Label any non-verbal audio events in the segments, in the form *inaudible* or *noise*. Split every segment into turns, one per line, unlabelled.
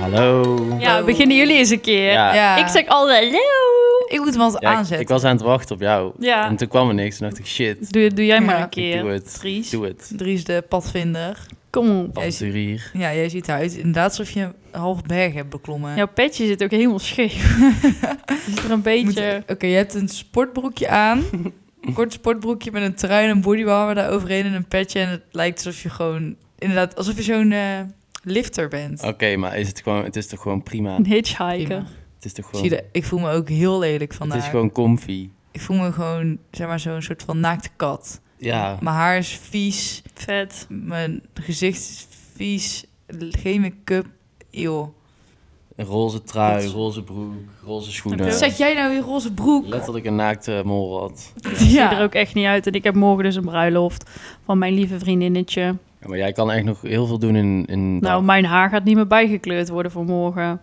Hallo.
Ja, beginnen jullie eens een keer.
Ja.
Ja.
Ik zeg altijd hallo.
Ik moet hem altijd
Ja, ik-
aanzetten.
ik was aan het wachten op jou.
Ja.
En toen kwam er niks. En dacht ik, shit,
Doe, doe jij maar
Ja.
een keer.
Ik doe het.
Dries.
doe het.
Dries de padvinder.
Kom op.
Jij ziet-
Avonturier.
Ja, jij ziet eruit inderdaad alsof je een half berg hebt beklommen.
Jouw petje zit ook helemaal
*laughs*
scheef. Je ziet er een
Je moet-
beetje...
Oké, je hebt een sportbroekje
*laughs*
aan. Een kort sportbroekje met een trui en een bodywarmer daar overheen en een petje. En het lijkt alsof je gewoon... Inderdaad, alsof je zo'n eh, lifter bent.
Oké, maar is het, gewoon, het is toch gewoon prima?
Een hitchhiker.
Prima.
Het is toch
Ik Zie
gewoon,
je, ik voel me ook heel lelijk
het is
vandaag.
gewoon comfy.
Ik voel me gewoon, zeg maar, zo'n soort van naakte kat.
Ja,
Mijn haar is vies.
Vet.
Mijn gezicht is vies. Geen make-up. Joh.
een roze trui, roze broek, roze schoenen.
Heb
Wat Zeg jij nou weer roze broek?
Letterlijk een naakte molrat.
Ik zie er ook echt niet uit. En ik heb morgen dus een bruiloft van mijn lieve vriendinnetje.
Ja, maar jij kan echt nog heel veel doen in... in
Nou, mijn haar gaat niet meer bijgekleurd worden voor morgen.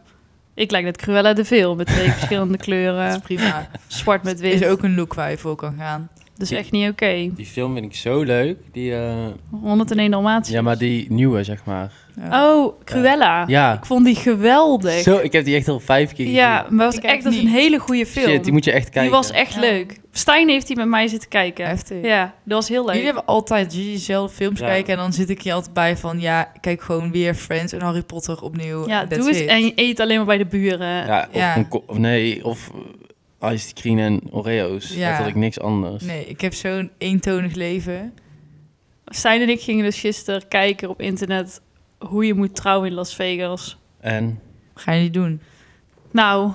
Ik lijk net Cruella de Veel met
*laughs*
twee verschillende
Dat is
kleuren.
prima.
Zwart met wit.
*laughs* Is ook een look waar je voor kan gaan.
Dat is echt niet oké.
Die film vind ik zo leuk. Die, eh,
101 Dalmatie.
ja, maar die nieuwe, zeg maar.
Ja.
Oh, Cruella.
Ja.
Ik vond die geweldig.
Zo, ik heb die echt al vijf keer
ja, maar was
Ik
echt
ook
dat is een
niet.
hele goede film.
Shit, die moet je echt
Die
kijken.
was echt
Ja.
leuk. Stijn heeft die met mij zitten kijken.
Heftig.
Ja, dat was heel leuk.
Jullie hebben altijd jullie zelf films
Ja.
kijken en dan zit ik je altijd bij van ja, kijk gewoon weer Friends en Harry Potter opnieuw.
ja,
that's
doe het
it.
en je eet alleen maar bij de buren.
Ja, of,
Ja.
Een ko- of nee, of eh, iced cream en Oreo's.
Ja.
Dat had ik niks anders.
Nee, ik heb zo'n eentonig leven.
Stijn en ik gingen dus gisteren kijken op internet hoe je moet trouwen in Las Vegas.
En
Ga je niet doen.
Nou,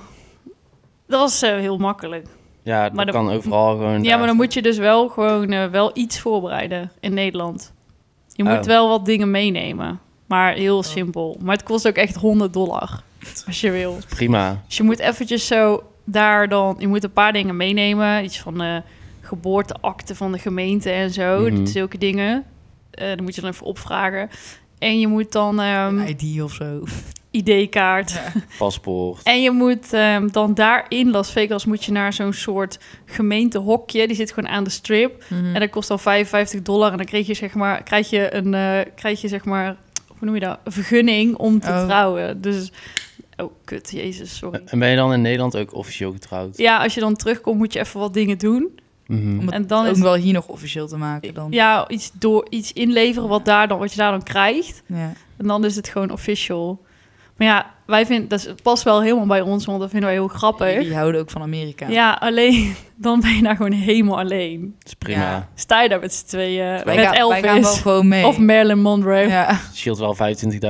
dat was eh, heel makkelijk.
ja, dat
Maar dan-
kan overal gewoon.
Ja, maar dan moet je dus wel gewoon eh, wel iets voorbereiden in Nederland. Je moet
Oh.
wel wat dingen meenemen. Maar
Oh.
heel simpel. Maar het kost ook echt 100 dollar. Als je wil.
Prima.
Dus je moet eventjes zo daar dan... Je moet een paar dingen meenemen. Iets van de geboorteakte van de gemeente en zo.
Mhm.
Zulke dingen. Eh dan moet je dan even opvragen. En je moet dan ehm,
Een ID of
*laughs*
zo.
ID-kaart.
Paspoort.
En je moet ehm, dan daar in Las Vegas moet je naar zo'n soort gemeentehokje. Die zit gewoon aan de strip. En dat kost dan 55 dollar. En dan krijg je zeg maar, krijg je een, eh, krijg je zeg maar, hoe noem je dat? Een vergunning om te
Oh.
trouwen. Dus, oh kut, jezus, sorry.
En ben je dan in Nederland ook officieel getrouwd?
Ja, als je dan terugkomt moet je even wat dingen doen.
Mhm.
Om het
En dan
ook
is
wel hier nog officieel te maken dan.
ja, iets, door, iets inleveren wat, daar dan, wat je daar dan krijgt.
Ja.
En dan is het gewoon official. Maar ja, wij vinden, dat is- het past wel helemaal bij ons, want dat vinden wij heel grappig.
Die houden ook van Amerika.
Ja, alleen, *laughs* dan ben je daar gewoon helemaal alleen.
Dat is prima.
Ja.
Sta je daar met z'n tweeën,
wij,
met
gaan- wij
Elvis
gaan wel gewoon mee.
of Marilyn Monroe.
Ja.
Het scheelt wel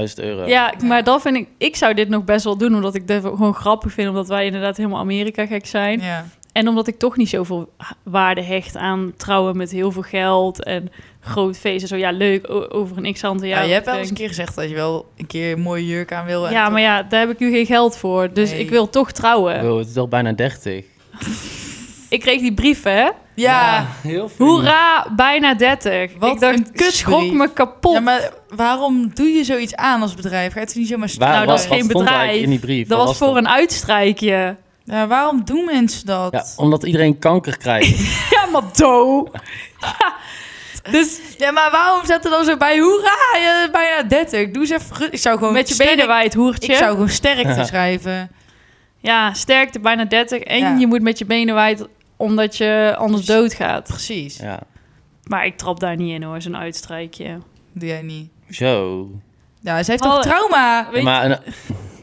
25.000 euro.
Ja, maar dat vind ik... Ik zou dit nog best wel doen, omdat ik dat gewoon grappig vind. Omdat wij inderdaad helemaal Amerika-gek zijn.
ja.
En omdat ik toch niet zoveel ha- waarde hecht aan trouwen met heel veel geld... en groot feest en zo. Ja, leuk, o- over een x aantal
Ja,
jaar.
je hebt wel
Ik
eens een
denk,
keer gezegd dat je wel een keer een mooie jurk aan wil. en
Ja,
toch-
maar ja, daar heb ik nu geen geld voor. Dus
Nee.
ik wil toch trouwen.
Wow, het is al bijna 30.
Ik kreeg die brief, hè?
Ja.
heel veel.
Hoera, bijna 30.
Wat
ik dacht,
een
kut, schrok
brief.
me kapot.
Ja, maar waarom doe je zoiets aan als bedrijf? Ga je het niet zomaar
Waar,
Nou,
nou,
dat
wat,
is
dat
geen
geen stond er
bedrijf.
eigenlijk in die brief?
dat
Wat
was voor een
*laughs*
uitstrijkje.
Ja, waarom doen mensen dat?
Ja, omdat iedereen kanker
*laughs*
krijgt.
Ja, maar do. dus
Ja, maar waarom staat er dan zo bij? Hoera, je bent bijna 30. Doe eens even gerust. Ik zou gewoon
met je
sterk-
benen wijd, hoertje.
Ik zou gewoon sterkte schrijven.
Ja, sterkte, bijna 30. En
Ja.
je moet met je benen wijd, omdat je anders
Precies.
doodgaat.
Precies.
ja.
Maar ik trap daar niet in hoor, zo'n uitstrijkje.
Doe jij niet.
Zo.
Ja, ze heeft
Alle-
toch trauma?
Weet-
maar een-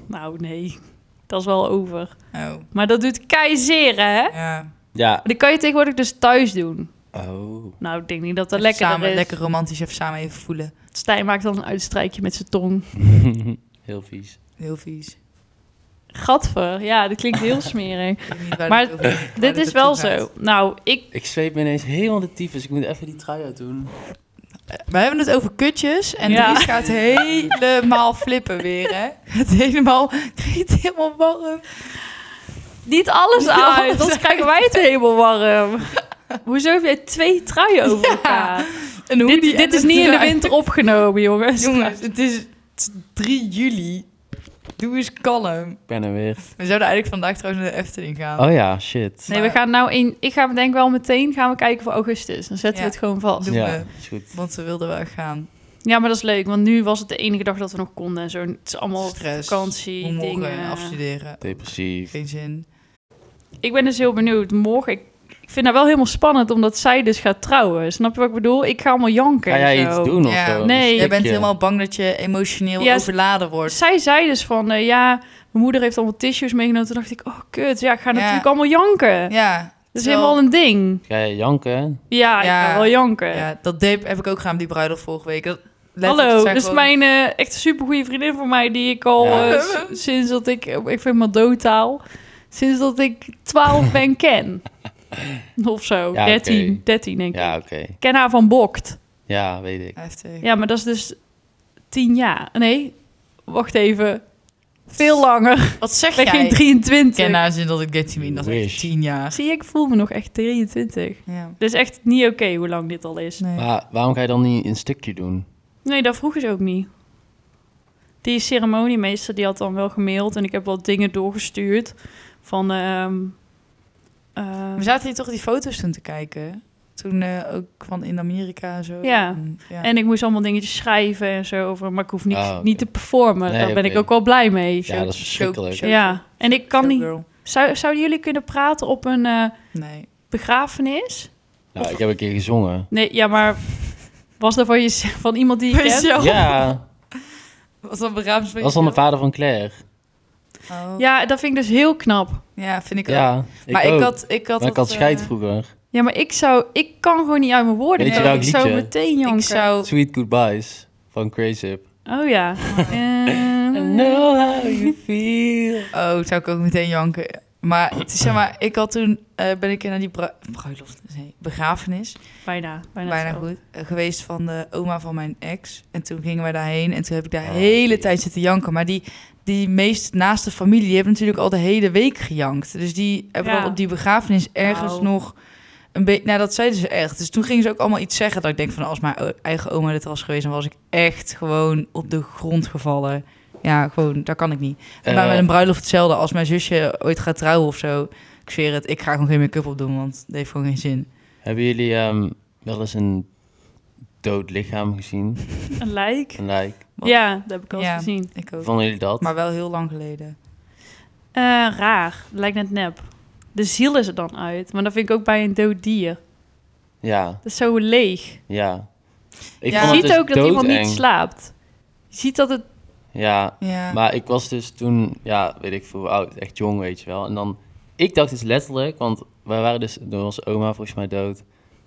Nou nee, dat is wel over.
Oh,
Maar dat doet keizeren, hè? Maar
ja.
ja.
die kan je tegenwoordig dus thuis doen.
Oh.
Nou, ik denk niet dat dat
Even
lekker
samen,
is.
Lekker romantisch even samen even voelen.
Stijn maakt dan een uitstrijkje met zijn tong.
heel vies.
Heel vies.
Gadver, ja, dat klinkt
*laughs*
heel smerig.
Ik weet niet waar
Maar
dit over- waar
Dit is
naartoe
wel
gaat.
zo. Nou, ik...
Ik zweep me ineens helemaal de tyfus. Ik moet even die trui uit doen.
We hebben het over kutjes en
Ja.
Dries gaat helemaal flippen weer, hè? Gaat helemaal, krijgt het helemaal warm.
Niet alles
Niet
uit,
alles *laughs*
anders
uit.
krijgen wij het helemaal
*laughs*
warm. Hoezo heb jij twee truien over elkaar?
Een
Dit,
hoodie
dit
en
is
een
niet in de
trui.
winter opgenomen, jongens.
*laughs* Jongens, het is, het is 3 juli. Doe eens kalm.
Ik ben er weer.
We zouden eigenlijk vandaag trouwens naar de Efteling gaan.
Oh ja, shit.
Nee, we gaan nou in. Ik ga denk wel meteen gaan we kijken voor augustus. Dan zetten
Ja.
we het gewoon vast.
Doe- Doen
ja,
we.
is goed.
Want we wilden wel gaan.
Ja, maar dat is leuk, want nu was het de enige dag dat we nog konden en zo. Het is allemaal
Stress,
vakantie,
Om morgen
dingen.
afstuderen.
Depressief.
Geen zin.
Ik ben dus heel benieuwd. Morgen, ik, ik vind dat wel helemaal spannend, omdat zij dus gaat trouwen. Snap je wat ik bedoel? Ik ga allemaal janken
Ga
en
jij
zo.
iets doen of
Ja.
zo? Een
Nee. Jij
Jij bent
stukje?
helemaal bang dat je emotioneel
Ja, s-
overladen wordt.
Zij zei dus van, eh, ja, mijn moeder heeft allemaal tissues meegenomen. Toen dacht ik, oh kut, ja, ik ga
Ja.
natuurlijk allemaal janken.
Ja.
Dat is
terwijl-
helemaal een ding.
Ga jij janken?
Ja,
Ja.
ik ga wel janken.
Ja, dat deed, heb ik ook gedaan op die bruiloft vorige week. Dat,
Hallo,
letterlijk, zei ik
dat is
gewoon-
mijn eh, echt supergoeie vriendin van mij, die ik al
Ja.
eh, s- sinds dat ik, oh, ik vind hem al doodtaal, sinds dat ik
*laughs*
12 ben ken. Of zo,
Ja,
13,
oké.
13 denk ik.
Ja, oké.
Ik Ken haar van Bokt.
Ja, weet ik.
Heftig.
Ja, maar dat is dus 10 jaar. Nee, wacht even. Veel langer.
Wat zeg
Ik ben geen
jij?
23.
ken haar zin dat ik 13 ben, dat is
Wish.
echt 10 jaar.
Zie je, ik voel me nog echt 23.
Ja.
Dat is echt niet oké hoe lang dit al is.
Nee.
Maar waarom ga je dan niet een stukje doen?
Nee, dat vroegen ze ook niet. Die ceremoniemeester die had dan wel gemaild en ik heb wat dingen doorgestuurd van. ehm, eh,
We zaten hier toch die foto's toen te kijken. Toen eh, ook van in Amerika en zo.
Ja.
En, ja.
en ik moest allemaal dingetjes schrijven en zo over, maar ik hoef niet,
Ah, oké.
niet te performen.
Nee,
Daar ben
oké.
ik ook wel blij mee.
Ja, dat is verschrikkelijk.
show-
Ja, en ik kan niet.
Showgirl.
Zou, zouden jullie kunnen praten op een eh,
Nee.
begrafenis?
Nou, ik heb een keer gezongen.
Nee, ja,
*laughs*
maar was dat van, je, van iemand die je
Weet
kent?
je wel? *laughs*
Ja,
Was dat begraafd?
dat was dan de vader van Claire.
ja.
Ja, dat vind ik dus heel knap.
Oh. ja, vind ik ook.
Ja,
maar
ook.
ik had... Ik had,
Maar ik had
dat,
scheid
eh,
vroeger.
Ja, maar ik zou, ik kan gewoon niet uit mijn woorden
Weet je
komen.
welk
Ik zou
liedje?
meteen janken.
Ik zou...
Sweet Goodbyes van Crazy
Oh
*laughs*
ja. Eh,
how you *laughs* feel.
Oh, zou ik ook meteen janken. Maar het is zeg maar, ik had toen eh, ben ik naar die bru- bruiloft, nee, begrafenis,
bijna, bijna,
bijna
zo.
goed, eh, geweest van de oma van mijn ex. En toen gingen wij daarheen en toen heb ik daar
Oh,
de hele
jee.
tijd zitten janken. Maar die, die meest naaste familie, die hebben natuurlijk al de hele week gejankt. Dus die hebben
Ja.
dan op die begrafenis ergens
Wauw.
nog een beetje... Nou, dat zeiden ze echt. Dus toen gingen ze ook allemaal iets zeggen dat ik denk van... als mijn o- eigen oma dit was geweest, dan was ik echt gewoon op de grond gevallen. Ja, gewoon, daar kan ik niet.
Eh.
Maar met een bruiloft hetzelfde. Als mijn zusje ooit gaat trouwen of zo, ik zweer het, ik ga gewoon geen make-up op doen, want dat heeft gewoon geen zin.
hebben jullie ehm, wel eens een dood lichaam gezien?
Een lijk.
Een lijk?
Wat?
Ja, dat heb ik al eens
Ja.
gezien.
Ik ook.
Vonden jullie dat?
Maar wel heel lang geleden.
Eh, raar. Lijkt net nep. De ziel is er dan uit. Maar dat vind ik ook bij een dood dier.
Ja,
Dat is zo leeg.
ja. Ik
Ja.
Je
vond het
ziet
dus
ook dat iemand niet
doodeng.
slaapt. Je ziet dat het...
Ja,
Ja.
Maar ik was dus toen, ja, weet ik veel oud, echt jong, weet je wel. En dan, ik dacht dus letterlijk, want wij waren dus door onze oma volgens mij dood.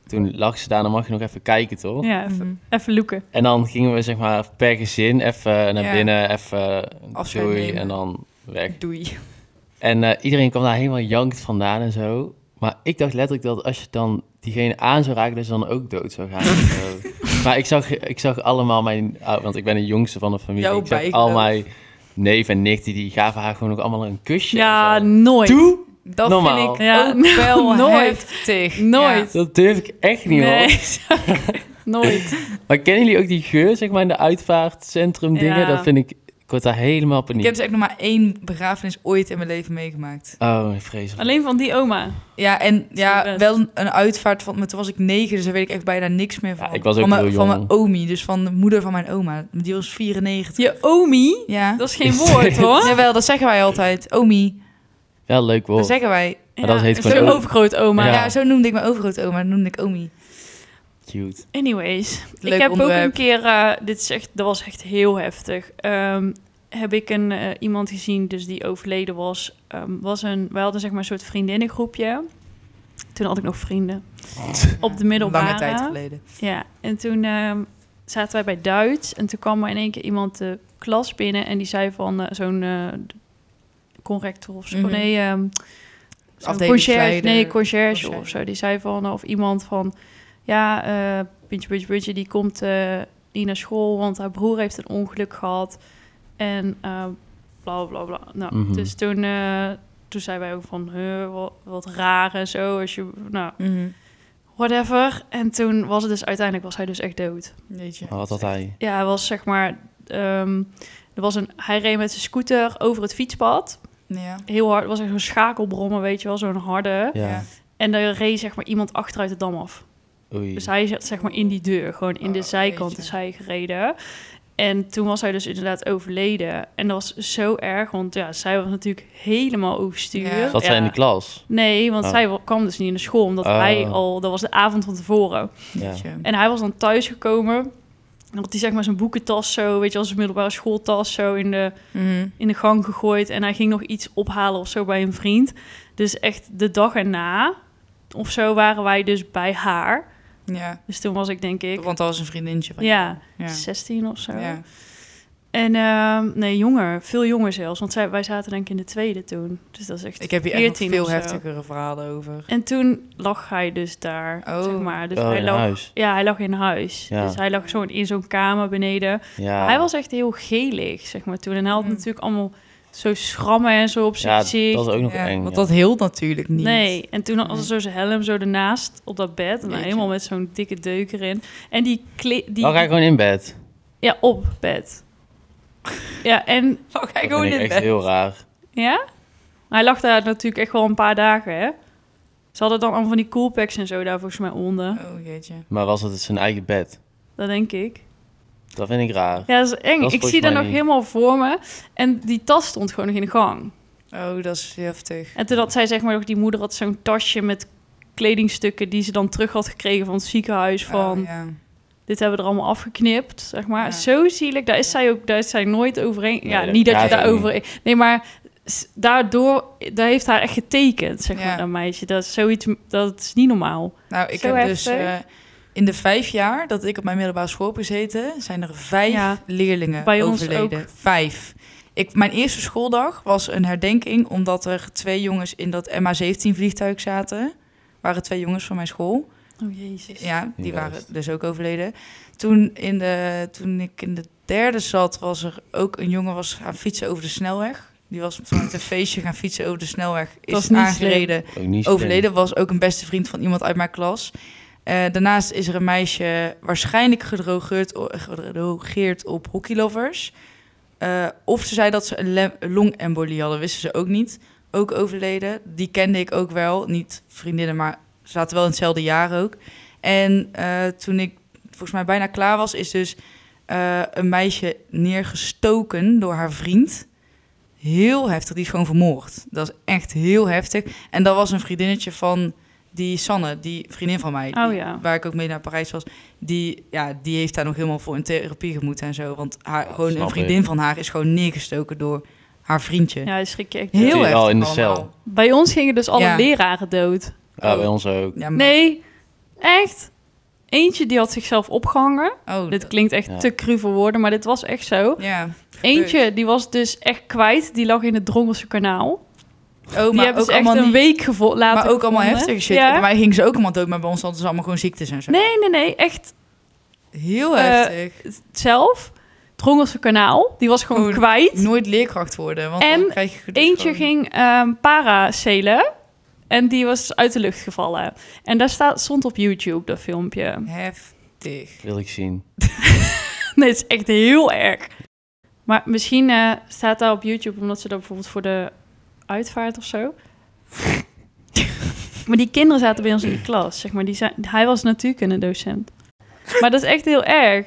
Toen lag ze daar, dan mag je nog even kijken, toch?
Ja, even,
Mhm.
even loeken.
En dan gingen we zeg maar per gezin even naar
Ja.
binnen, even
Afscheid
doei
nemen.
en dan weg.
Doei.
En eh, iedereen kwam daar helemaal jankt vandaan en zo. Maar ik dacht letterlijk dat als je dan diegene aan zou raken, dat ze dan ook dood zou gaan. en
*laughs*
zo. Maar ik zag, ik zag allemaal mijn... ou- Want ik ben de jongste van de familie.
Jouw
ik zag
bijgeloof.
al mijn neef en nichten, die gaven haar gewoon ook allemaal een kusje.
Ja,
en zo.
nooit.
Doe!
*laughs* Dat
Normaal.
vind ik
Ja,
ook wel
nooit.
heftig.
Nooit.
Dat durf ik echt niet, hoor.
*laughs* Nee, nooit.
Maar kennen jullie ook die geur, zeg maar, in de uitvaartcentrum dingen?
Ja.
Dat vind ik... Ik word daar helemaal
Ja. Ik
paniek.
heb dus echt nog maar één begrafenis ooit in mijn leven meegemaakt.
Oh, vreselijk.
Alleen van die oma.
Ja, en ja,
best.
wel een uitvaart van... Maar toen was ik negen, dus daar weet ik echt bijna niks meer van.
Ja, ik was ook
van mijn,
heel
Van
jong.
mijn omi, dus van de moeder van mijn oma. Die was 94.
Je omi?
Ja.
Dat is
*laughs*
geen woord, hoor.
Jawel, dat zeggen wij altijd. Omi,
Wel een leuk
dat
woord.
zeggen wij.
Maar dat heet
Ja,
gewoon
Zo'n
oom.
overgroot oma.
Ja.
Ja. zo noemde ik mijn overgrootoma, dat noemde ik Omi.
Cute.
Anyways,
Leuk
ik heb ook
onderwerp.
een keer, eh, dit is echt, dat was echt heel heftig. Ehm, heb ik een, eh, iemand gezien, dus die overleden was. Ehm, was een, wij hadden zeg maar een soort vriendinnengroepje. Toen had ik nog vrienden. Op de middelbare.
Lange tijd geleden.
Ja, en toen ehm, zaten wij bij Duits. En toen kwam er in één keer iemand de klas binnen. En die zei van eh, zo'n eh, conrector of zo.
Mhm.
Nee, ehm, zo'n
Afdelingsleider.
conciërge- Nee, conciërge
Conciërge.
of zo. Die zei van, eh, of iemand van... Ja, eh puntje, puntje, puntje, die komt eh, niet naar school... want haar broer heeft een ongeluk gehad. En eh, bla, bla, bla. Nou,
Mhm.
dus toen, eh, toen zei wij ook van... "Huh, wat, wat raar en zo. Als je, nou,
Mhm.
whatever. En toen was het dus uiteindelijk was hij dus echt dood.
Jeetje.
Maar wat had hij?
Ja, hij was zeg maar. ehm, er was een, hij reed met zijn scooter over het fietspad.
Ja.
Heel hard. Het was echt zo'n schakelbrommen, weet je wel. Zo'n harde.
Ja.
Ja.
En daar reed zeg maar iemand achteruit de dam af.
Oei.
Dus hij zat zeg maar in die deur, gewoon in de
Oh,
zijkant
jeetje.
is hij gereden. En toen was hij dus inderdaad overleden. En dat was zo erg, want ja, zij was natuurlijk helemaal overstuur.
Ja.
Zat zij in de klas?
Nee, want
Oh.
zij wa- kwam dus niet in de school, omdat
Oh.
hij al... Dat was de avond van tevoren.
Ja.
Jeetje.
En hij was dan thuisgekomen. En had hij zeg maar zijn boekentas zo, weet je, als een middelbare schooltas zo in de,
Mhm.
in de gang gegooid. En hij ging nog iets ophalen of zo bij een vriend. Dus echt de dag erna of zo waren wij dus bij haar.
Ja,
Dus toen was ik denk ik...
want dat was een vriendinnetje van
Ja,
je. Ja.
16 of zo.
Ja.
En ehm, nee, jonger. Veel jonger zelfs. Want zij, wij zaten denk ik in de tweede toen. Dus dat is echt
Ik heb hier echt
14
nog
of
veel
zo.
heftigere verhalen over.
En toen lag hij dus daar,
Oh.
zeg maar. Dus
Oh,
hij
in
lag,
huis.
Ja, hij lag in huis.
Ja.
Dus hij lag zo in zo'n kamer beneden.
Ja.
Hij was echt heel gelig, zeg maar, toen. En hij had
Mm.
natuurlijk allemaal zo schrammen en zo op zijn
ja,
gezicht.
dat was ook nog
Ja,
eng.
want
ja.
dat hield natuurlijk niet.
Nee, en toen
Nee.
had ze zo zijn helm zo ernaast op dat bed. En dan
Mm. Jeetje.
helemaal met zo'n dikke deuk erin. En die... kle- die
Lag hij gewoon in bed.
Ja, op bed. ja, en...
Lag hij
Dat
gewoon
vind ik
in
echt
bed.
heel raar.
Ja? Hij lag daar natuurlijk echt wel een paar dagen, hè? Ze hadden dan allemaal van die coolpacks en zo daar volgens mij onder.
Oh jeetje.
Maar was het zijn eigen bed?
Dat denk ik.
Dat vind ik raar.
Ja, dat is eng.
Dat is
ik
volgens
zie dat
mij
nog
niet.
helemaal voor me. En die tas stond gewoon nog in de gang.
Oh, dat is heftig.
En toen had zij zeg maar nog... Die moeder had zo'n tasje met kledingstukken... die ze dan terug had gekregen van het ziekenhuis. Van,
Oh, ja.
dit hebben we er allemaal afgeknipt, zeg maar.
Ja.
Zo zielig. Daar is zij ook daar is zij nooit overheen.
Nee,
ja,
dat
niet dat je
gaat ook
daarover... Nee, maar s- daardoor... Daar heeft haar echt getekend, zeg
Ja.
maar, dat meisje. Dat is zoiets... Dat is niet normaal.
Nou, ik
Zo
heb dus
heftig.
eh, in de vijf jaar dat ik op mijn middelbare school heb gezeten, zijn er vijf
Ja.
leerlingen
Bij ons
overleden. Vijf. Ik, mijn eerste schooldag was een herdenking omdat er twee jongens in dat MH17 vliegtuig zaten. Waren twee jongens van mijn school.
Oh, jezus.
Ja, die
Juist.
waren dus ook overleden. Toen, in de, toen ik in de derde zat, was er ook een jongen was gaan fietsen over de snelweg. Die was vanuit een feestje gaan fietsen over de snelweg. Is
Dat is niet
aangereden
Ook niet slim.
overleden. Was ook een beste vriend van iemand uit mijn klas. Eh, daarnaast is er een meisje waarschijnlijk gedrogeerd, gedrogeerd op hockeylovers. Eh, of ze zei dat ze een lem- een longembolie hadden, wisten ze ook niet. Ook overleden. Die kende ik ook wel. Niet vriendinnen, maar ze zaten wel in hetzelfde jaar ook. En eh, toen ik volgens mij bijna klaar was, is dus eh, een meisje neergestoken door haar vriend. Heel heftig, die is gewoon vermoord. Dat is echt heel heftig. En dat was een vriendinnetje van die Sanne, die vriendin van mij.
Oh
die-
ja.
Waar ik ook mee naar Parijs was. Die, ja, die heeft daar nog helemaal voor in therapie gemoeten en zo. Want haar,
Ja,
gewoon
snap
een
ik.
vriendin van haar is gewoon neergestoken door haar vriendje.
Ja, daar schrik je echt.
Zit
Heel
hij
heftig
al in de
allemaal.
cel?
Bij ons gingen dus alle
Ja.
leraren dood.
Ja,
Oh.
bij ons ook.
Ja, maar-
Nee, echt. Eentje die had zichzelf opgehangen.
Oh,
Dit klinkt echt
Ja.
te cru voor woorden, maar dit was echt zo.
Ja. Oh,
Eentje die was dus echt kwijt. Die lag in het Drongelse kanaal.
Oh,
Die
maar
hebben
ook
ze echt
allemaal
een
niet-
week gevo- later
Maar ook allemaal
gevonden.
heftige shit.
Ja.
Bij mij gingen ze ook allemaal dood, maar bij ons hadden ze allemaal gewoon ziektes en zo.
Nee, nee, nee. Echt
Heel
Eh,
heftig.
zelf. Het Drongelse kanaal. Die was gewoon
Oeh,
kwijt.
Nooit leerkracht worden, want
En
dan krijg je dus
Eentje
gewoon-
ging ehm paracelen. En die was uit de lucht gevallen. En daar staat, stond op YouTube dat filmpje.
Heftig. *laughs*
Wil ik zien.
*laughs* Nee, het is echt heel erg. Maar misschien eh, staat daar op YouTube omdat ze dat bijvoorbeeld voor de uitvaart of
*laughs*
zo. maar die kinderen zaten bij ons in de klas, zeg maar. Die zijn, hij was natuurkunde docent. Maar dat is echt heel erg.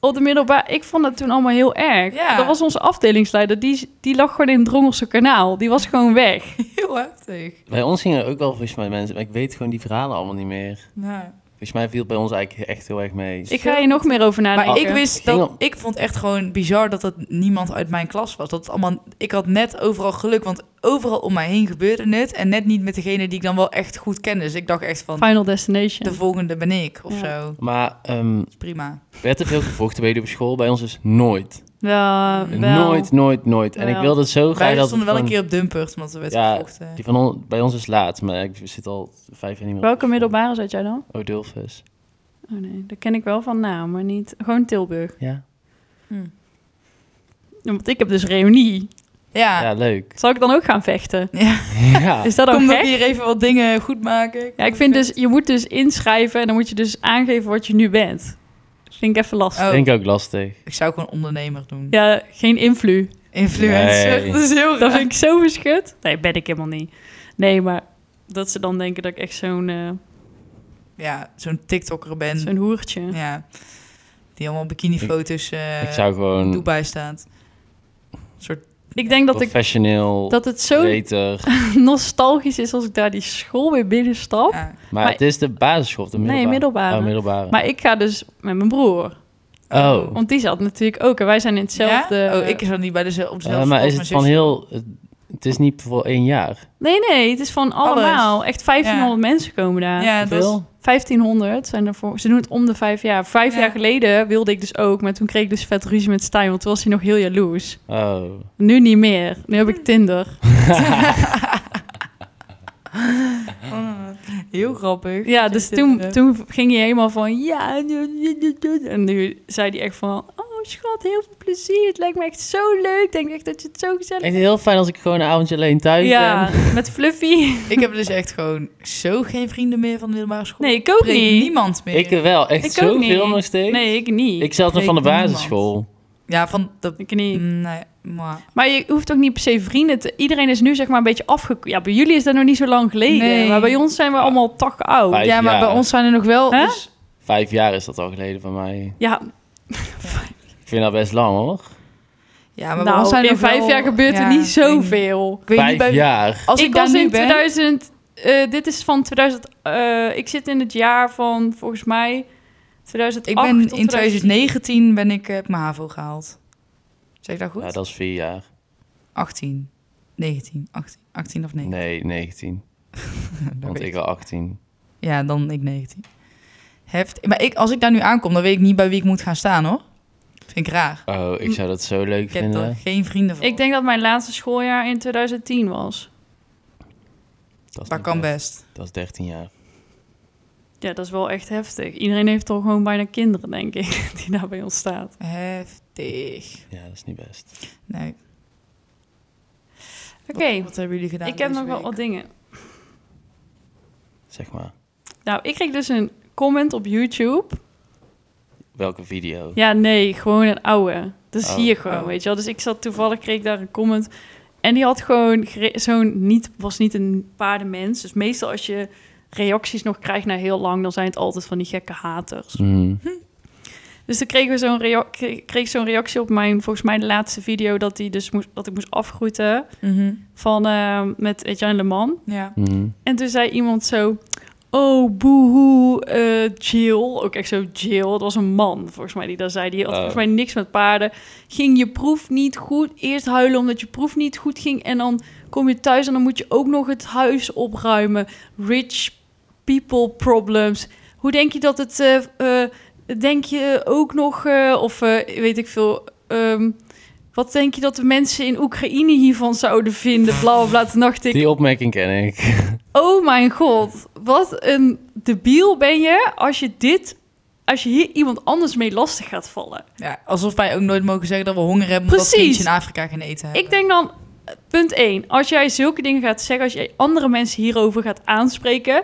Op de middelbaar, ik vond dat toen allemaal heel erg.
Ja.
Dat was onze afdelingsleider, die, die lag gewoon in het Drongelse kanaal. Die was gewoon
*laughs*
weg.
Heel heftig.
Bij ons gingen er ook wel volgens mij mensen, maar ik weet gewoon die verhalen allemaal niet meer.
Nou.
Volgens mij viel het bij ons eigenlijk echt heel erg mee.
Ik ga hier nog meer over nadenken.
Maar ik wist
Ging
dat
om-
ik vond echt gewoon bizar dat het niemand uit mijn klas was. Dat het allemaal, ik had net overal geluk, want overal om mij heen gebeurde het en net niet met degene die ik dan wel echt goed kende. Dus ik dacht echt van
Final Destination.
de volgende ben ik of
Ja.
zo.
Maar ehm
Is prima.
werd er veel gevochten bij jullie op school? Bij ons is nooit.
Wel, wel.
Nooit, nooit, nooit. En ik
Wel.
wilde zo graag
Wij
dat...
stonden wel een
het gewoon-
keer op Dumpert, want we werd
Ja,
gevochten.
Die van on- bij ons is laat, maar ik zit al vijf jaar niet meer op
Welke
school.
middelbare zat jij dan?
Odulfus.
Oh nee, dat ken ik wel van naam, maar niet. Gewoon Tilburg.
Ja?
Hm.
Want ik heb dus reunie.
Ja.
Ja,
*laughs*
leuk.
Zal ik dan ook gaan vechten?
Ja.
ja.
Is dat ook
Kom nog
gek?
hier even wat dingen goed maken.
Ja, ik vind dus, je moet dus inschrijven en dan moet je dus aangeven wat je nu bent. Vind ik even lastig.
Oh,
Denk ik ook lastig.
Ik zou gewoon ondernemer doen.
Ja, geen invloed.
Influencer.
Nee.
*laughs* Dat is heel
Dat
raar.
vind ik zo verschut. Nee, ben ik helemaal niet. Nee, maar dat ze dan denken dat ik echt zo'n eh,
ja, zo'n TikTokker ben.
Zo'n hoertje.
Ja, die allemaal bikinifoto's eh
ik zou
in
gewoon
Dubai staat. Een soort
Ik denk dat, ik,
professioneel,
dat het zo
beter.
*laughs* nostalgisch is als ik daar die school weer binnenstap.
ja.
Maar,
Maar-
het is de basisschool, de middelbare.
Nee, middelbare.
Oh, middelbare.
Maar ik ga dus met mijn broer.
oh.
Want die zat natuurlijk ook. En wij zijn in hetzelfde...
Ja? Oh, ik zat niet bij de, op dezelfde
Eh, maar
school als
is
mijn
het van
zusje.
heel... Het, het is niet voor één jaar.
Nee, nee. Het is van allemaal. Echt 1500 mensen komen daar.
Ja, dat
Hoeveel?
is-
1500 zijn er voor. Ze doen het om de vijf jaar. Vijf
Ja.
jaar geleden wilde ik dus ook. Maar toen kreeg ik dus vet ruzie met Stijn. Want toen was hij nog heel jaloers.
Oh.
Nu niet meer. Nu
Hm.
heb ik Tinder.
oh, heel grappig.
Ja, dus toen, toen ging hij helemaal van... Ja, en nu zei hij echt van... Oh schat, heel veel plezier. Het lijkt me echt zo leuk. Ik denk echt dat je het zo gezellig
Echt heel fijn als ik gewoon een avondje alleen thuis
Ja,
ben.
met Fluffy.
Ik heb dus echt gewoon zo geen vrienden meer van de middelbare school.
Nee, ik ook
Spreek
niet.
niemand meer.
Ik eh, wel. Echt
Ik ook
zoveel
niet.
nog steeds.
Nee, ik niet.
ik zelf nog van de
spreek niemand.
basisschool.
Ja, van dat...
Ik niet.
Nee, maar...
Maar je hoeft ook niet per se vrienden te... Iedereen is nu zeg maar een beetje afge... Ja, bij jullie is dat nog niet zo lang geleden.
Nee.
Maar bij ons zijn we allemaal tak oud.
Vijf
Ja, maar
jaar.
bij ons zijn er nog wel...
Hè?
Dus,
Vijf jaar is dat al geleden van mij.
Ja,
Ik vind dat best lang, hoor.
ja, maar bij
nou,
ons zijn er
in
nog
vijf
wel-
jaar gebeurt
ja,
er niet
ik weet niet.
zoveel.
Ik weet
Vijf
niet bij...
jaar.
Als ik,
ik
daar
was
nu
in
ben...
2000... eh, dit is van 2000... eh, ik zit in het jaar van, volgens mij... 2008
Ik ben
tot
in 2019 ben ik, eh, heb mijn HAVO gehaald. Zeg ik dat goed?
Ja, Nou, dat is vier jaar.
18. 19. 18, 18 of 19.
Nee, 19.
Dat
Want
weet
ik
ik.
al 18.
Ja, dan ik 19. Heft. Maar ik, als ik daar nu aankom, dan weet ik niet bij wie ik moet gaan staan, hoor. Vind ik raar.
Oh, ik eh, zou dat zo leuk
Ik heb
vinden.
er geen vrienden van.
Ik denk dat mijn laatste schooljaar in 2010 was.
Dat, is
dat
niet
kan
best.
best.
Dat is 13 jaar.
Ja, dat is wel echt heftig. Iedereen heeft toch gewoon bijna kinderen, denk ik, *laughs* die daar bij ons staat.
Heftig.
Ja, dat is niet best.
Nee.
Oké,
Wat, wat hebben jullie gedaan
ik heb
deze
nog wel
week?
wat dingen.
Zeg maar.
Nou, ik kreeg dus een comment op YouTube.
Welke video?
Ja, nee, gewoon een oude. Dat
Oh.
zie je gewoon,
Oh.
weet je wel. Dus ik zat toevallig, kreeg ik daar een comment. En die had gewoon gere- zo'n niet, was niet een paardenmens. Dus meestal als je reacties nog krijgt na heel lang, dan zijn het altijd van die gekke haters.
Mm.
Dus toen kregen we zo'n rea- kreeg- kreeg ik zo'n reactie op mijn, volgens mij de laatste video, dat, die dus moest, dat ik moest afgroeten
Mhm.
van, eh, met Etienne Le Man.
Ja.
Mm.
En toen zei iemand zo... Oh, boehoe, eh Jill. Ook echt zo Jill. Dat was een man, volgens mij, die dat zei. Die had
Oh.
volgens mij niks met paarden. Ging je proef niet goed. Eerst huilen omdat je proef niet goed ging. En dan kom je thuis en dan moet je ook nog het huis opruimen. Rich people problems. Hoe denk je dat het... eh, eh, denk je ook nog... eh, of eh, weet ik veel... ehm, wat denk je dat de mensen in Oekraïne hiervan zouden vinden? Bla, bla, bla. Toen dacht ik...
Die opmerking ken ik.
Oh mijn god, wat een debiel ben je als je dit, als je hier iemand anders mee lastig gaat vallen.
ja. Alsof wij ook nooit mogen zeggen dat we honger hebben... omdat
Precies.
kindjes in Afrika geen eten hebben.
Ik denk dan, eh, punt 1, als jij zulke dingen gaat zeggen, als jij andere mensen hierover gaat aanspreken,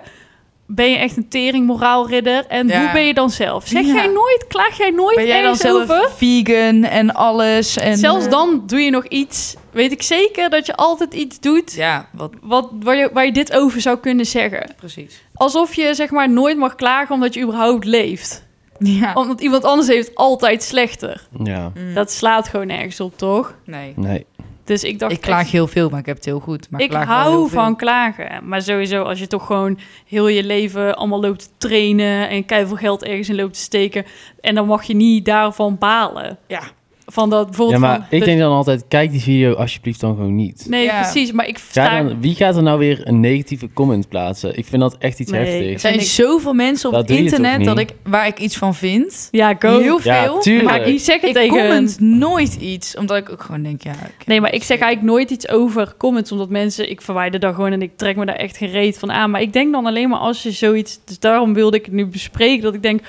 ben je echt een tering moraalridder. En
Ja.
hoe ben je dan zelf? Zeg
Ja.
jij nooit, klaag jij nooit
Ben jij dan
ergens
zelf eh,
over?
vegan en alles? En,
Zelfs dan doe je nog iets, weet ik zeker dat je altijd iets doet
Ja, wat
wat, waar, je, waar je dit over zou kunnen zeggen.
precies.
Alsof je zeg maar nooit mag klagen omdat je überhaupt leeft.
*laughs* Ja.
Omdat iemand anders heeft het altijd slechter.
Ja.
Hm.
Dat slaat gewoon nergens op, toch?
Nee.
Nee.
Dus ik dacht...
Ik klaag
echt,
heel veel, maar ik heb het heel goed. Maar ik,
ik
klaag wel heel
hou
veel.
van klagen. Maar sowieso, als je toch gewoon heel je leven allemaal loopt te trainen... en keiveel geld ergens in loopt te steken... en dan mag je niet daarvan balen.
Ja.
Van dat
Ja,
bijvoorbeeld...
maar
van-
ik denk dan altijd, kijk die video alsjeblieft dan gewoon niet.
Nee,
Ja.
precies. Maar ik
Ga
sta...
dan, wie gaat er nou weer een negatieve comment plaatsen? Ik vind dat echt iets
Nee.
Er
heftigs.
zijn
Vind ik-
zoveel mensen op
Dat
het
doe je toch
internet
niet?
dat ik, waar ik iets van vind.
Ja, ik ook.
Heel
Ja,
veel.
tuurlijk.
Maar ik zeg het
ik
tegen hun.
comment nooit iets, omdat ik ook gewoon denk, ja... ik-
Nee, maar ik zeg eigenlijk nooit iets over comments, omdat mensen, ik verwijder daar gewoon en ik trek me daar echt geen reet van aan. Maar ik denk dan alleen maar als je zoiets, dus daarom wilde ik het nu bespreken, dat ik denk,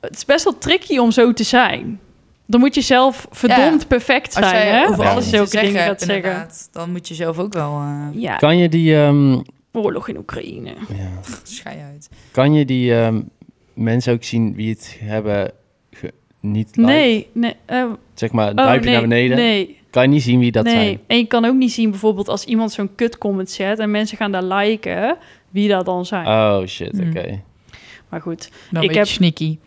het is best wel tricky om zo te zijn. Dan moet je zelf verdomd perfect zijn,
Als jij
hè?
over
Ja.
alles
Als
iets te
zulke dingen
zeggen
gaat
hebt,
zeggen.
inderdaad, dan moet je zelf ook wel... eh
Ja,
Kan je die, ehm,
oorlog in Oekraïne.
ja.
schei uit.
kan je die ehm, mensen ook zien wie het hebben ge- niet liked?
Nee, nee. eh,
Zeg maar,
oh,
duimpje
nee,
naar beneden.
Nee,
Kan je niet zien wie dat
nee.
zijn.
En je kan ook niet zien bijvoorbeeld als iemand zo'n kut comment zet en mensen gaan daar liken, wie dat dan zijn.
Oh shit,
Hmm.
oké.
Maar goed.
Dan
Ik
ik heb...
heb-
sneaky.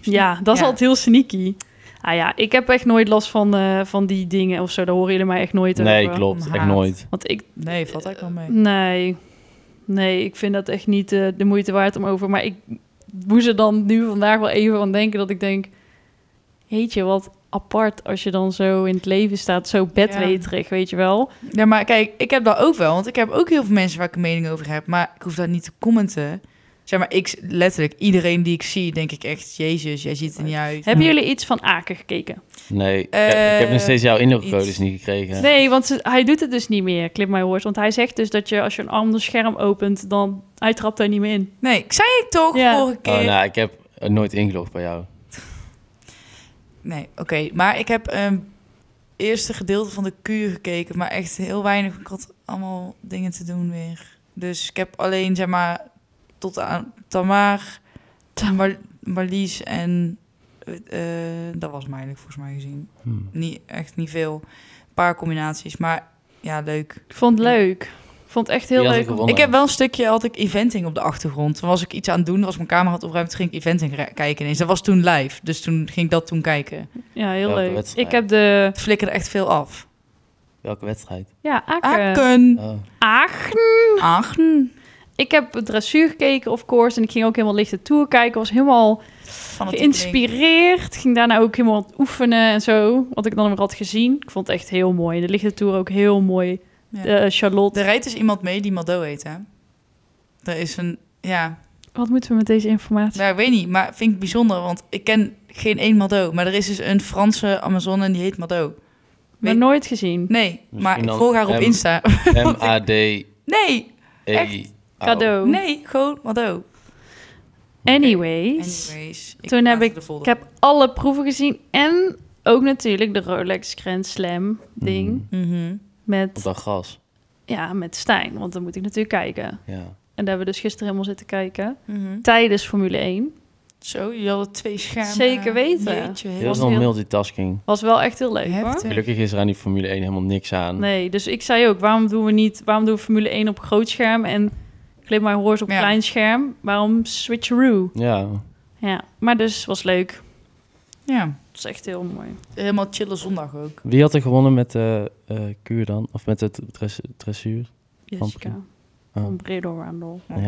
Ja, dat is
Ja.
altijd heel sneaky. Ah ja, ik heb echt nooit last van, eh, van die dingen of zo. Daar horen jullie mij echt nooit
Nee,
over.
klopt.
Haat.
Echt nooit.
Want ik,
Nee, valt eigenlijk wel mee.
nee, nee, ik vind dat echt niet eh, de moeite waard om over. Maar ik moest er dan nu vandaag wel even aan denken dat ik denk... Jeetje, wat apart als je dan zo in het leven staat. Zo bedweterig, weet je wel.
Ja, maar kijk, ik heb dat ook wel. Want ik heb ook heel veel mensen waar ik een mening over heb. Maar ik hoef daar niet te commenten. Zeg maar, ik letterlijk, iedereen die ik zie, denk ik echt... Jezus, jij ziet er niet uit.
Hebben jullie iets van Aken gekeken?
Nee. ik-
Eh,
ik heb nog steeds jouw inlogcodes
iets.
niet gekregen.
Nee, want ze- hij doet het dus niet meer, Clip My Horse. Want hij zegt dus dat je als je een ander scherm opent, dan... Hij trapt daar niet meer in.
Nee, ik zei het toch
Ja.
vorige keer.
Oh, nou, ik heb eh, nooit ingelogd bij jou.
Nee, oké. Maar ik heb ehm eerste gedeelte van de kuur gekeken, maar echt heel weinig. Ik had allemaal dingen te doen weer. Dus ik heb alleen, zeg maar, tot aan Tamar, Mar Marlies en... eh, eh, dat was mij eigenlijk volgens mij gezien.
Hm.
Niet, echt niet veel. Een paar combinaties, maar ja, leuk.
Ik vond het leuk. Ik vond het echt heel
Wie had er
leuk. om-
gewonnen?
Ik heb wel een stukje, had ik eventing op de achtergrond. Toen was ik iets aan het doen, was mijn camera had opruimd, toen ging ik eventing ra- kijken ineens. Dat was toen live, dus toen ging ik dat toen kijken.
Ja, heel
Welke
leuk.
wedstrijd?
Ik heb de...
Het flikkerde echt veel af.
Welke
*laughs*
wedstrijd?
Ja, Aken.
Aken!
Oh.
Aachen. Oh.
Agen.
Ik heb dressuur gekeken, of course. En ik ging ook helemaal lichte tour kijken. Was helemaal
Van
geïnspireerd. Ging daarna ook helemaal oefenen en zo. Wat ik dan weer had gezien. Ik vond het echt heel mooi. De lichte tour ook heel mooi. Eh, Charlotte.
Er rijdt dus iemand mee die Mado heet, hè? Er is een... Ja,
Wat moeten we met deze informatie?
nou, ik weet niet, maar vind ik bijzonder, want ik ken geen één Mado. Maar er is dus een Franse Amazone en die heet Mado.
Maar
weet-
nooit gezien.
Nee, maar ik
dan
volg haar op
M. E
Insta. *laughs*
M-A-D-E.
Nee,
Cadeau.
nee, gewoon Mado.
Anyways.
Anyways.
Toen heb
laat
ik-
de folder
Ik heb alle proeven gezien. En ook natuurlijk de Rolex Grand Slam ding.
Mhm.
op. Mhm.
Op
Met,
dat gas.
ja, met Stijn. Want dan moet ik natuurlijk kijken.
Ja.
En daar hebben we dus gisteren helemaal zitten kijken.
Mhm.
Tijdens Formule 1.
Zo, je hadden twee schermen.
Zeker weten.
Jeetje, heel-
Heel veel
heel-
multitasking.
Was wel echt heel leuk hoor.
Heftig.
Gelukkig is er aan die Formule 1 helemaal niks aan.
Nee, dus ik zei ook, waarom doen we niet, waarom doen we Formule 1 op groot scherm en Clip My Horse op
Ja.
klein scherm? Waarom switcheroo?
Ja.
Ja, maar dus was leuk.
Ja,
Het was echt heel mooi.
helemaal chille zondag ook.
Wie had er gewonnen met de eh kuur dan? Of met het dress- dressuur?
Jessica.
Oh.
Van Bredo Randall.
Zij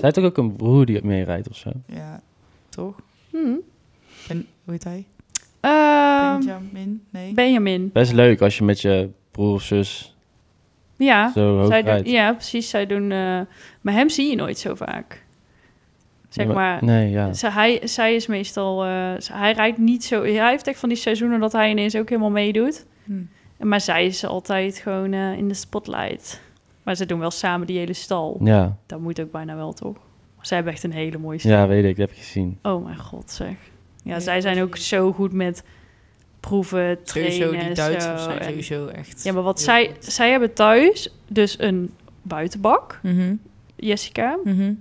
heeft toch ook een broer die meerijdt of zo?
Ja, toch?
Hm.
Ben, hoe heet hij?
Ehm,
Benjamin? Nee.
Benjamin.
Best leuk als je met je broer of zus
Ja,
zo hoog
zij doen,
rijdt.
ja, precies. Zij doen, eh, maar hem zie je nooit zo vaak. Zeg
Nee,
maar,
Nee, ja.
Ze- hij, zij is meestal, eh, ze- hij rijdt niet zo. Hij heeft echt van die seizoenen dat hij ineens ook helemaal meedoet.
Hm.
Maar zij is altijd gewoon eh, in de spotlight. Maar ze doen wel samen die hele stal.
Ja.
Dat moet ook bijna wel, toch? Ze hebben echt een hele mooie stal.
ja, weet ik. Dat heb ik gezien.
Oh mijn god, zeg. Ja,
Nee,
zij zijn
dat
ook
niet.
zo goed met proeven, trainen.
Sowieso, die
en
Duitsers
zo.
zijn
En-
sowieso echt...
Ja, maar wat
heel
zij,
goed.
zij hebben thuis dus een buitenbak,
Mhm,
Jessica.
mhm.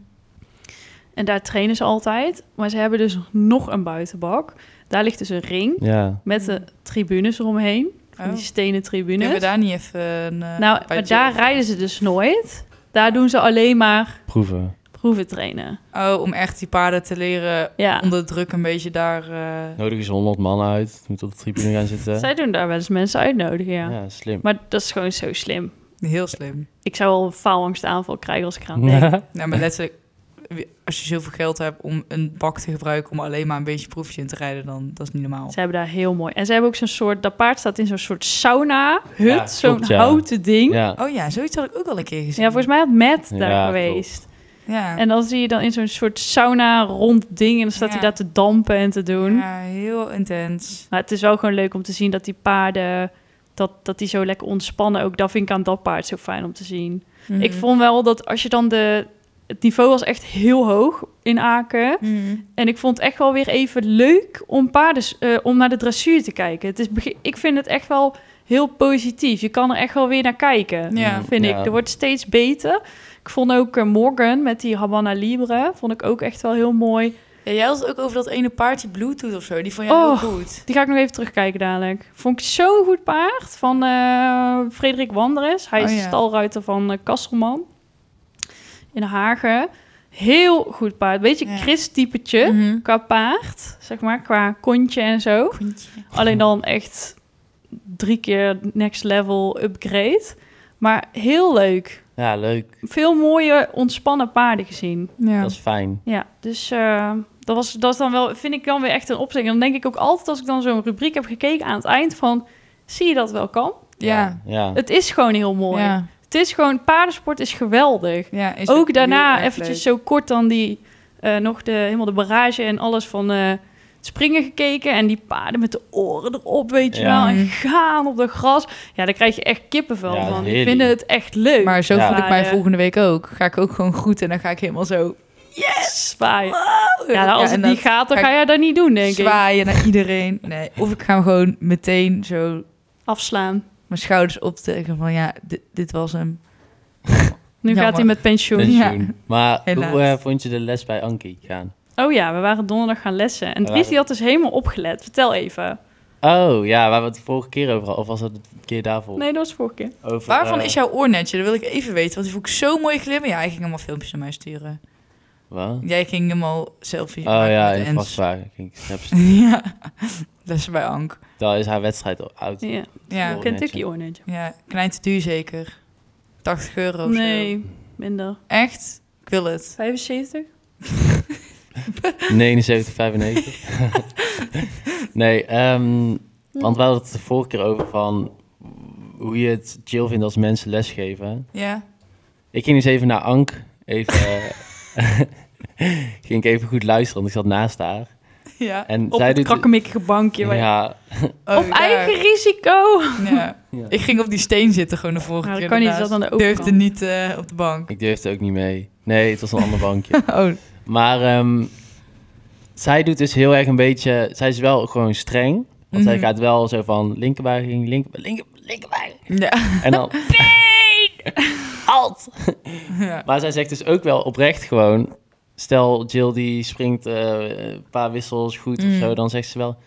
En daar trainen ze altijd. Maar ze hebben dus nog een buitenbak. Daar ligt dus een ring.
Ja.
Met de tribunes eromheen. Van
Oh.
die stenen tribunes.
Kunnen we daar niet even... een, eh,
Dus? nou,
bij
maar
Jill-
daar rijden ze dus nooit. Daar doen ze alleen maar
Proeven.
proeven trainen.
Oh, om echt die paarden te leren
Ja.
onder druk een beetje daar... eh,
Nodig is 100 man uit. Moet op de tribune gaan zitten.
*laughs* Zij doen daar wel eens mensen uitnodigen, ja.
Ja, slim.
Maar dat is gewoon zo slim.
Heel slim.
Ik zou al een faalangstaanval krijgen als ik *laughs* eraan denk.
Nou, maar letterlijk... wie- Als je zoveel geld hebt om een bak te gebruiken om alleen maar een beetje proefje in te rijden, dan dat is niet normaal.
Ze hebben daar heel mooi. En ze hebben ook zo'n soort... Dat paard staat in zo'n soort sauna-hut.
Ja,
zo'n
klopt, ja.
houten ding. Ja.
ja.
Oh ja, zoiets had ik ook al een keer gezien.
volgens mij had Matt daar
Ja,
geweest.
Ja,
En dan zie je dan in zo'n soort sauna rond ding... en dan staat
Ja.
hij daar te dampen en te doen.
ja heel intens.
Maar het is wel gewoon leuk om te zien dat die paarden... Dat, dat die zo lekker ontspannen ook. Dat vind ik aan dat paard zo fijn om te zien.
Mhm.
Ik vond wel dat als je dan de... Het niveau was echt heel hoog in Aken.
Mhm.
En ik vond het echt wel weer even leuk om paarden... eh, om naar de dressuur te kijken. Het is, bege- ik vind het echt wel heel positief. Je kan er echt wel weer naar kijken.
Ja.
Vind
Mm, Ja.
ik. Er wordt steeds beter. Ik vond ook eh, Morgan met die Habana Libre... vond ik ook echt wel heel mooi.
Ja, jij had het ook over dat ene paardje Bluetooth of zo. Die vond jij
Oh.
heel goed.
Die ga ik nog even terugkijken dadelijk. Vond ik zo'n goed paard van eh, Frederik Wanderes. Hij
Oh,
is
ja.
stalruiter van eh, Kasselman in Hagen. Heel goed paard. Beetje
Ja.
Chris-typetje
Mhm.
qua paard, zeg maar, qua kontje en zo. Alleen dan echt drie keer next level upgrade. Maar heel leuk.
Ja, leuk.
Veel mooie, ontspannen paarden gezien.
Ja.
Dat is fijn.
Ja, dus eh, dat, was, dat is dan wel, vind ik dan weer echt een opzicht. En dan denk ik ook altijd als ik dan zo'n rubriek heb gekeken aan het eind van... Zie je dat wel kan?
Ja.
Ja.
Het is gewoon heel mooi.
Ja.
Het is gewoon, paardensport is geweldig.
Ja, is
ook
heel
daarna
erg
eventjes
leuk.
zo kort dan die, eh, nog de, helemaal de barrage en alles van eh, het springen gekeken. En die paarden met de oren erop, weet je
Ja.
wel. En
Mhm.
gaan op de gras. Ja, daar krijg je echt kippenvel
Ja,
van. Ik
heerlijk.
vind het echt leuk.
Maar zo
Ja.
voel ik mij
Paarden.
volgende week ook. Ga ik ook gewoon goed en dan ga ik helemaal zo...
zwaaien. Ja, nou, als
en
het
dan
niet gaat, dan
ga
ga jij dat niet doen, denk ik.
zwaaien naar iedereen. Nee, of ik ga gewoon meteen zo
Afslaan.
mijn schouders optrekken van ja, dit, dit was hem.
Nu gaat
Jammer.
hij met pensioen.
Ja.
Pensioen. Maar
Helaas.
hoe eh, vond je de les bij Ankie gaan?
Oh ja, we waren donderdag gaan lessen. En
We
Dries
waren-
die had dus helemaal opgelet. Vertel even.
Oh, ja, waar we het vorige keer over hadden. Of was dat de keer daarvoor?
Nee, dat was vorige keer.
Over,
Waarvan
eh,
is jouw oornetje? Dat wil ik even weten, want die vond ik zo mooi glimmen. Ja, hij ging helemaal filmpjes naar mij sturen.
Wat?
Jij ging helemaal selfies
Oh ja,
met de
in
Ents.
vastvragen. Ik snap-
*laughs* Ja, dat is bij Ank.
Daar is haar wedstrijd al oud.
Ja.
Ja,
Oornetje.
Kentucky Oornetje.
ja klein te duur zeker. 80 euro of zo.
Nee, minder.
Echt? Ik wil het.
75?
79,
*laughs*
95. nee, ehm, want we hadden het de vorige keer over van hoe je het chill vindt als mensen lesgeven.
Ja.
Ik ging eens even naar Ank. Even,
*laughs*
eh, *laughs* ging ik even goed luisteren, want ik zat naast haar.
Ja.
En
Op
zij
het
doet...
krakkemikkige bankje. waar je-
ja,
Oh,
op
ja.
eigen risico.
Ja.
ja,
Ik ging op die steen zitten gewoon de vorige
Nou, dat
keer.
kan niet,
ernaast.
dat is aan de
Ik durfde
overkant.
niet eh, op de bank.
ik durfde ook niet mee. Nee, het was een ander
*laughs*
bankje.
Oh,
Maar ehm, zij doet dus heel erg een beetje... Zij is wel gewoon streng. Want zij
Mhm.
gaat wel zo van linkerbuiging, linker, linker, linkerbuiging.
ja.
En dan... Alt!
ja.
Maar zij zegt dus ook wel oprecht gewoon... Stel, Jill die springt eh, een paar wissels goed
Mm.
of zo... Dan zegt ze wel...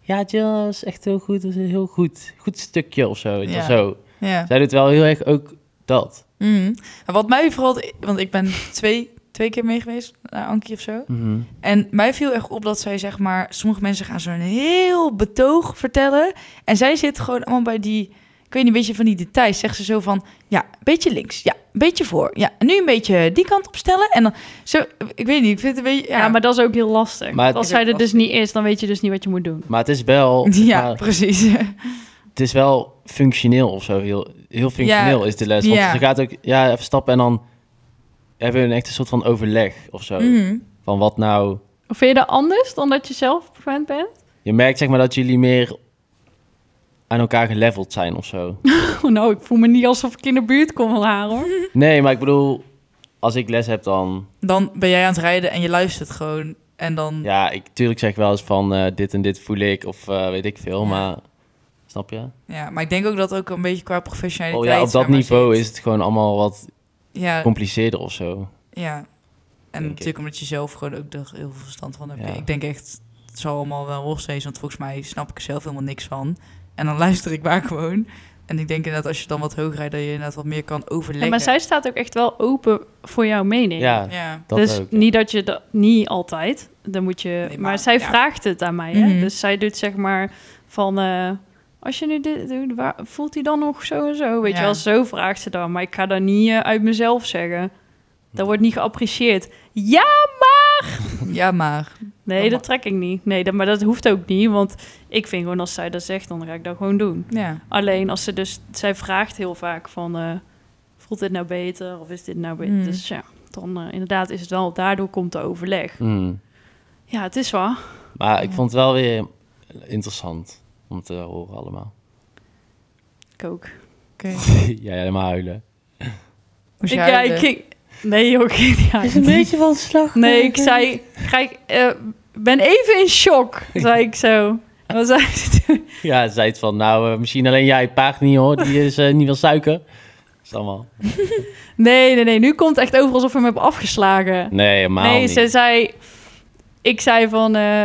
Ja, Jill is echt heel goed. is heel goed. Goed stukje of zo. weet je wel,
Ja.
zo.
ja.
Zij doet wel heel erg ook dat.
Mhm. En Wat mij vooral, want ik ben twee, twee keer mee geweest naar Ankie of zo. En mij viel echt op dat zij, zeg maar, sommige mensen gaan zo'n heel betoog vertellen. En zij zit gewoon allemaal bij die, ik weet niet, een beetje van die details. Zegt ze zo van, ja, een beetje links, ja, een beetje voor. Ja, en nu een beetje die kant opstellen. En dan, zo, ik weet niet, ik vind het een beetje, ja.
Ja, maar dat is ook heel lastig.
Maar het
als
is
zij
ook
er dus niet is, dan weet je dus niet wat je moet doen.
Maar het is
*laughs*
wel... zeg
ja,
maar,
precies.
het is wel functioneel of zo. Heel, heel functioneel is de les. Want
Ja.
ze gaat ook... Ja, even stappen en dan... Hebben we een echt een soort van overleg of zo.
*laughs* Mhm.
Van wat nou...
Of vind je dat anders dan dat je zelf gewend bent? *laughs*
Je merkt zeg maar dat jullie meer aan elkaar geleveld zijn of zo.
Oh, nou, ik voel me niet alsof ik in de buurt kom van haar, hoor.
Nee, maar ik bedoel, als ik les heb dan...
Dan ben jij aan het rijden en je luistert gewoon. En dan, ja,
Ja, ik tuurlijk zeg wel eens van eh, dit en dit voel ik of eh, weet ik veel,
Ja.
maar... Snap je?
maar ik denk ook dat ook een beetje qua professionaliteit.
Oh ja, op
zeg
dat
maar,
niveau
zit. Eh.
is het gewoon allemaal wat
Ja,
compliceerder of zo.
Ja. En
ik.
natuurlijk omdat je zelf gewoon ook er heel veel verstand van hebt.
Ja.
Ik denk echt, het zal allemaal wel worst zijn, want volgens mij snap ik er zelf helemaal niks van. En dan *laughs* luister ik maar gewoon. En ik denk inderdaad, als je dan wat hoger rijdt, dat je inderdaad wat meer kan overleggen.
Ja, maar zij staat ook echt wel open voor jouw mening.
Ja,
Ja.
dat
dus
ook. ja.
niet dat je dat niet altijd. Dan moet je.
maar-
maar, zij
ja.
vraagt het aan mij. Hè?
Mhm.
Dus zij doet zeg maar van. eh, als je nu dit doet, waar, voelt hij dan nog zo en zo? Weet
Ja.
je wel, zo vraagt ze dan. Maar ik ga dat niet eh, uit mezelf zeggen. Dat wordt niet geapprecieerd. Ja!
Ja, maar.
Nee, dat trek ik niet. Nee, dat, maar dat hoeft ook niet. Want ik vind gewoon als zij dat zegt, dan ga ik dat gewoon doen.
Ja.
Alleen als ze dus. Zij vraagt heel vaak van. eh, voelt dit nou beter? Of is dit nou beter?
Mhm.
Dus ja, dan eh, inderdaad is het wel. Daardoor komt de overleg.
Mm.
Ja, het is waar.
Maar ik vond het wel weer interessant om te horen allemaal. *laughs*
Ik ook.
Oké.
Jij helemaal huilen.
Moest je
Ik, ja,
huilen?
ik ging... Nee, joh, ik ging niet *laughs* huilen.
beetje van slag.
Nee, ik zei... Ga ik, eh, ben even in shock, zei ik *laughs* zo. En dan zei ze...
Ja, ze zei het van, nou, eh, misschien alleen jij paard niet hoor, die is eh, niet van suiker. Dat is allemaal...
Nee, nee, nee, nu komt het echt over alsof we hem hebben afgeslagen.
Nee, helemaal
nee,
niet.
ze zei... Ik zei van... eh,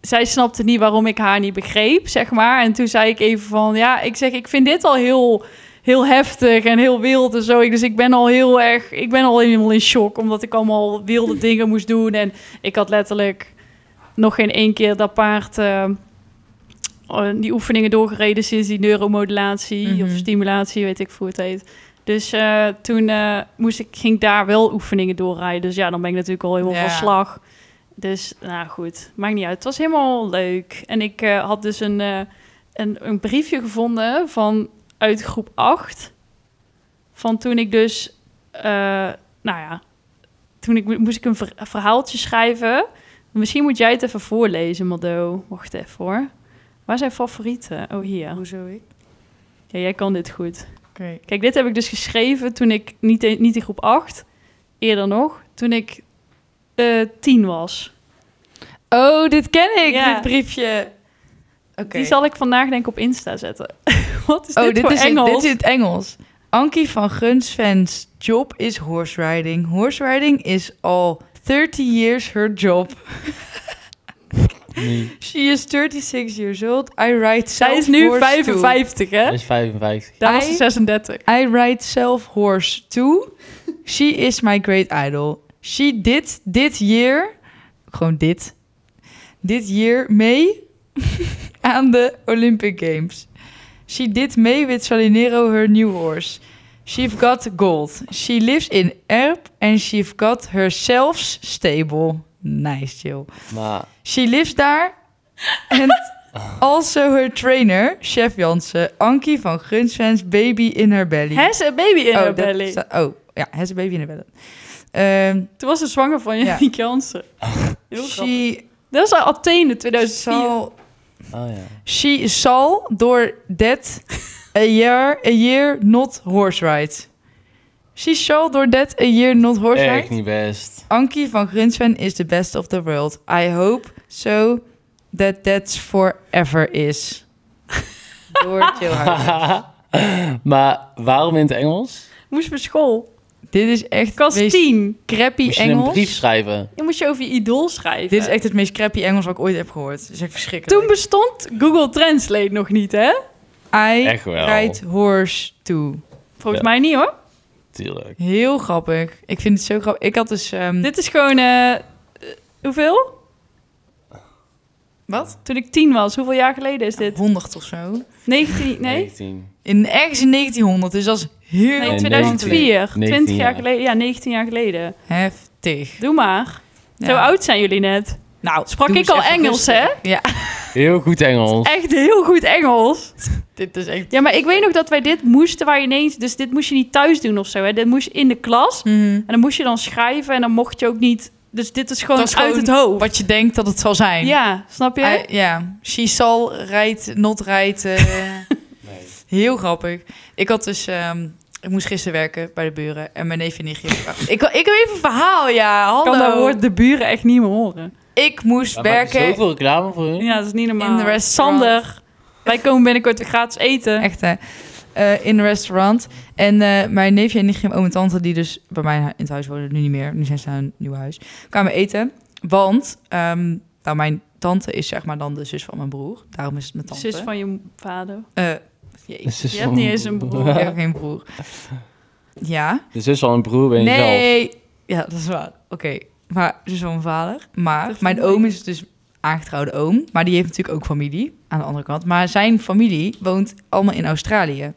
zij snapte niet waarom ik haar niet begreep, zeg maar. En toen zei ik even van... Ja, ik zeg, ik vind dit al heel... heel heftig en heel wild en zo. Ik- Dus ik ben al heel erg, ik ben al helemaal in shock, omdat ik
*laughs*
allemaal wilde dingen moest doen. En ik had letterlijk nog geen één keer dat paard eh, eh, die oefeningen doorgereden sinds die neuromodulatie
Mhm.
of stimulatie, weet ik hoe het heet. Dus eh, toen eh, moest ik, ging ik daar wel oefeningen doorrijden. Dus ja, dan ben ik natuurlijk al helemaal
Ja.
van slag. Dus nou goed, maakt niet uit. Het was helemaal leuk. En ik eh, had dus een, eh, een, een briefje gevonden van uit groep 8. Van toen ik dus, eh, nou ja, toen ik, moest ik een ver- een verhaaltje schrijven. Misschien moet jij het even voorlezen, Mado. Wacht even hoor. Waar zijn favorieten? Oh, hier.
Hoezo ik?
Ja, jij kan dit goed.
Oké.
Kijk, dit heb ik dus geschreven toen ik, niet, in- niet in groep 8, eerder nog, toen ik eh tien was.
Oh, dit ken ik,
Ja.
dit briefje. Oké.
Die zal ik vandaag denk ik op Insta zetten. *laughs* Wat is
Oh,
dit,
dit,
voor
is in-
Engels?
dit is in het Engels. Ankie van Gunsvens job is horse riding. Horse riding is al 30 years her job.
Nee,
She is 36 years old. I ride self
Zij is nu
horse too.
55, hè?
dat is 55.
Daar was ze
Hij-
36.
I ride self horse too. She is my great idol. She did dit year, gewoon dit, dit year mee *laughs* aan de Olympic Games. She did mee with Salinero her new horse. She've got gold. She lives in Erp and she've got herself stable. Nice, Jill.
Maar
She lives daar. And also her trainer, Chef Jansen, Ankie van Gunsvens, baby in her belly.
Hij is een baby in haar
Oh, dat
belly.
sta- oh, ja, has a baby in her belly. Ehm,
Toen was ze zwanger van
Ja. Oh,
Yannick
*laughs*
Jansen. Heel grappig.
she,
Dat was al Athene 2004.
zal,
oh ja.
she zal door that a year, a year not horse ride. She shall door that a year not horse
Echt
ride.
niet best.
Ankie van Grunsven is the best of the world. I hope so that that's forever is. Door Jill House.
maar waarom in het Engels?
Moest voor school.
Dit is echt
Ik was
meest
tien.
crappy
Moest je een
Engels.
brief schrijven?
Je moest je over je idool schrijven.
Dit is echt het meest crappy Engels wat ik ooit heb gehoord. Het is echt verschrikkelijk.
Toen bestond Google Translate nog niet, hè?
I
Echt wel.
ride horse too.
Volgens
Ja.
mij niet, hoor.
Tuurlijk.
Heel grappig. Ik vind het zo grappig. Ik had dus... ehm,
Dit is gewoon... eh, eh, hoeveel?
Wat?
Toen ik tien was. Hoeveel jaar geleden is dit?
100 of zo.
19... Nee?
19.
In, ergens in 1900. Dus dat is heel
Nee,
Nee,
2004.
19
20 jaar
jaar.
geleden. Ja, 19 jaar geleden.
heftig.
Doe maar. Zo
Ja.
oud zijn jullie net.
Nou,
Sprak
doe
ik
eens
al
even
Engels,
rustig.
hè?
Ja, *laughs*
Heel goed Engels.
Echt heel goed Engels.
dit is echt...
Ja, maar ik weet nog dat wij dit moesten waar je ineens... Dus dit moest je niet thuis doen of zo, hè. Dit moest je in de klas.
Mhm.
En dan moest je dan schrijven en dan mocht je ook niet... Dus dit is gewoon
Dat is
uit
gewoon
het hoofd.
Wat je denkt dat het zal zijn.
Ja, snap je?
I- ja. She zal rijdt, not rijdt. *laughs* eh.
Nee.
Heel grappig. Ik had dus... ehm, ik moest gisteren werken bij de buren. En mijn neef en nichtje... *laughs* ik, ik heb even een verhaal, ja.
Ik
Hallo.
kan dat woord de buren echt niet meer horen.
Ik moest
Maar maak je
werken...
zoveel reclame voor hun?
Ja, dat is niet normaal.
In de restaurant.
Sander, wij komen binnenkort weer gratis eten.
Echt, hè? Eh, in een restaurant. En eh, mijn neefje en nichtje, mijn oom en tante... die dus bij mij in het huis wonen, nu niet meer. Nu zijn ze naar een nieuw huis. Kwamen eten. Want, ehm, nou, mijn tante is zeg maar dan de zus van mijn broer. Daarom is het mijn tante.
Zus van je vader.
Eh, jezus,
zus *laughs*
Je
van
hebt niet
mijn
eens een broer.
ik heb geen broer. Ja?
De zus van een broer ben je zelf.
Nee. Ja, dat is waar. Oké. Maar dus van mijn vader. Maar
Dat is
mijn
mooi.
oom is dus aangetrouwde oom. Maar die heeft natuurlijk ook familie aan de andere kant. Maar zijn familie woont allemaal in Australië.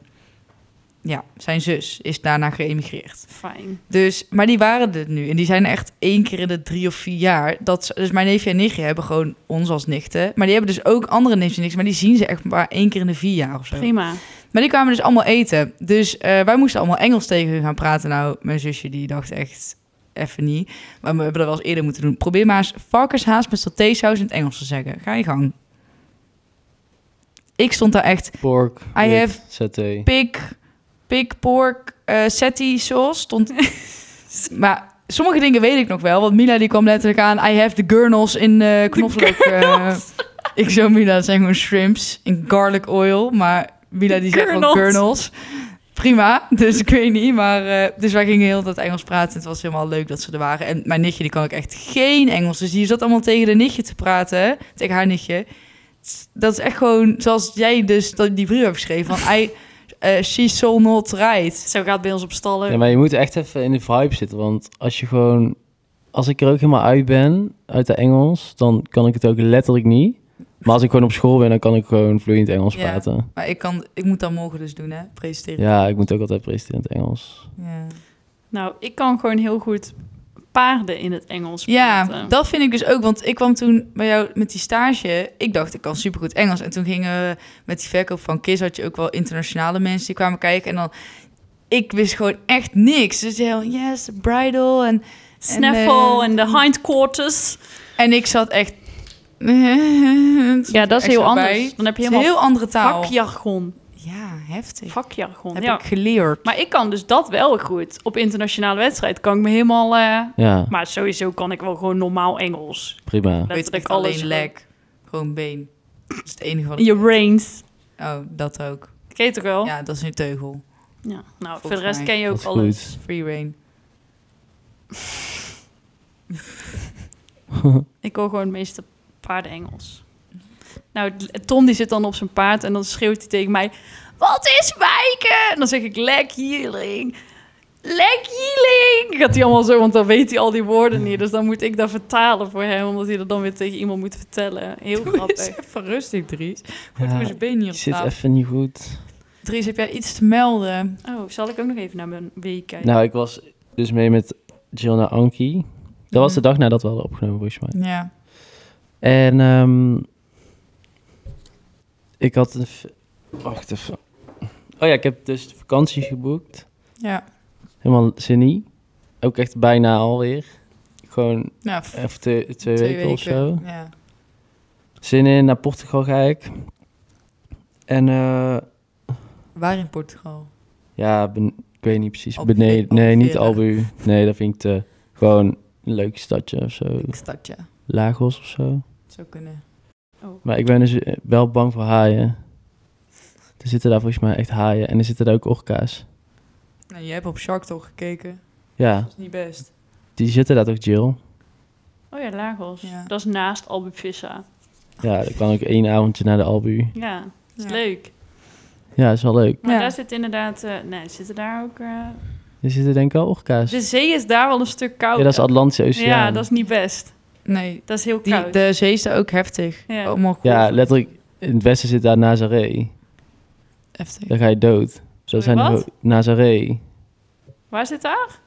Ja, zijn zus is daarna geëmigreerd.
Fijn.
Dus, maar die waren er nu. En die zijn echt één keer in de drie of vier jaar. Dat ze- dus mijn neefje en nichtje hebben gewoon ons als nichten. Maar die hebben dus ook andere neefjes en nichtjes. Maar die zien ze echt maar één keer in de vier jaar of zo.
Prima.
Maar die kwamen dus allemaal eten. Dus eh, wij moesten allemaal Engels tegen hun gaan praten. Nou, mijn zusje die dacht echt even niet. Maar we hebben dat wel eens eerder moeten doen. Probeer maar eens varkenshaas met satésaus in het Engels te zeggen. Ga je gang. Ik stond daar echt
Pork, I
have-
saté.
pik, pik, pork, eh setti sauce. Stond... maar sommige dingen weet ik nog wel. Want Mila die kwam letterlijk aan. I have the gurnels in eh knoflook. eh. *laughs* ik zo, Mila, dat zijn gewoon shrimps in garlic oil. Maar Mila die zegt gewoon
Gurnels.
gurnels. Prima, *laughs* dus ik weet niet. Maar, eh, dus wij gingen heel dat Engels praten. Het was helemaal leuk dat ze er waren. En mijn nichtje, die kan ook echt geen Engels. Dus die zat allemaal tegen de nichtje te praten. Tegen haar nichtje. Dat is echt gewoon, zoals jij dus dat- die brief hebt geschreven. Van, I eh she shall not ride.
Zo gaat het bij ons op stallen.
Ja, maar je moet echt even in de vibe zitten. Want als je gewoon... Als ik er ook helemaal uit ben, uit de Engels, dan kan ik het ook letterlijk niet. Maar als ik gewoon op school ben, dan kan ik gewoon vloeiend Engels
Ja.
praten.
Maar ik, kan, ik moet dat morgen dus doen, hè? Presenteren.
Ja, ik moet ook altijd presenteren in het Engels.
Ja.
Nou, ik kan gewoon heel goed paarden in het Engels
Ja,
praten.
dat vind ik dus ook. Want ik kwam toen bij jou met die stage. Ik dacht, ik kan supergoed Engels. En toen gingen we met die verkoop van KISS... had je ook wel internationale mensen die kwamen kijken. En dan, ik wist gewoon echt niks. Dus heel, yes, bridal. En,
Snaffle
eh,
en de hindquarters.
en ik zat echt... *laughs*
Ja, dat is
Extra
heel anders.
bij.
Dan heb je
Het is
helemaal
een heel andere taal.
vakjargon.
Ja, heftig.
Vakjargon,
Heb
ja.
ik geleerd.
Maar ik kan dus dat wel goed. Op internationale wedstrijd kan ik me helemaal... eh,
Ja,
Maar sowieso kan ik wel gewoon normaal Engels.
prima.
Letterlijk
Weet ik
alles
alleen
gewoon.
lek. Gewoon been. Dat is het enige wat ik...
Je brains.
Oh, dat ook.
Ken je het ook wel? Ja.
Ja, dat is een teugel.
Nou, voor de
Volgens
rest
mij.
ken je
Dat
ook
is
alles.
goed.
Free rain.
Ik hoor gewoon het meeste paarden Engels. Nou, Tom die zit dan op zijn paard en dan schreeuwt hij tegen mij... Wat is wijken? En dan zeg ik leg healing. Leg healing! Gaat hij allemaal zo, want dan weet hij al die woorden niet. Dus dan moet ik dat vertalen voor hem, omdat hij dat dan weer tegen iemand moet vertellen. Heel grappig.
Even rustig, Dries. Goed
Ja,
voor zijn been hier
ik
op
zit
tafel.
even niet goed.
Dries, heb jij iets te melden?
Oh, zal ik ook nog even naar mijn week kijken?
Nou, ik was dus mee met Jill naar Anki. Dat was de dag nadat we hadden opgenomen, volgens mij.
Ja.
En ehm, ik had een... v- Wacht even. Oh ja, ik heb dus de vakantie geboekt.
Ja.
Helemaal zinnie. Ook echt bijna alweer. Gewoon
Nou, f-
even twee, Eh, twee, weken, of zo.
Ja.
Zin in, naar Portugal ga ik. En eh,
Waar in Portugal?
ja, ben- ik weet niet precies.
Albufeira-
Beneden, nee, niet
Albufeira.
Albu. Nee, dat vind ik te... Gewoon een leuk stadje of zo.
Ik stad, ja.
Lagos of zo.
Zou kunnen.
Maar ik ben dus eh, wel bang voor haaien. Er zitten daar volgens mij echt haaien en er zitten daar ook orka's.
Nou, je hebt op Shark Talk gekeken.
Ja,
Dat is niet best.
die zitten daar toch, Jill?
Oh ja, Lagos.
Ja.
Dat is naast Albufissa.
Ja, dan kan ik één avondje naar de Albu.
Ja, dat is
Ja.
leuk.
Ja, is wel leuk.
Maar
Ja.
daar zit inderdaad... eh, nee, zitten daar ook... eh,
Er zitten denk ik wel orka's.
de zee is daar wel een stuk
Ja,
koud.
dat is Atlantische Oceaan.
Ja, dat is niet best.
Nee.
Dat is heel
Die,
koud.
de zee is daar ook heftig.
Ja.
Allemaal goed.
Ja, letterlijk, in het westen zit daar Nazaré.
Heftig.
Daar ga je dood. Dat
Sorry,
zijn de
wat?
ho- Nazaré.
Waar zit daar?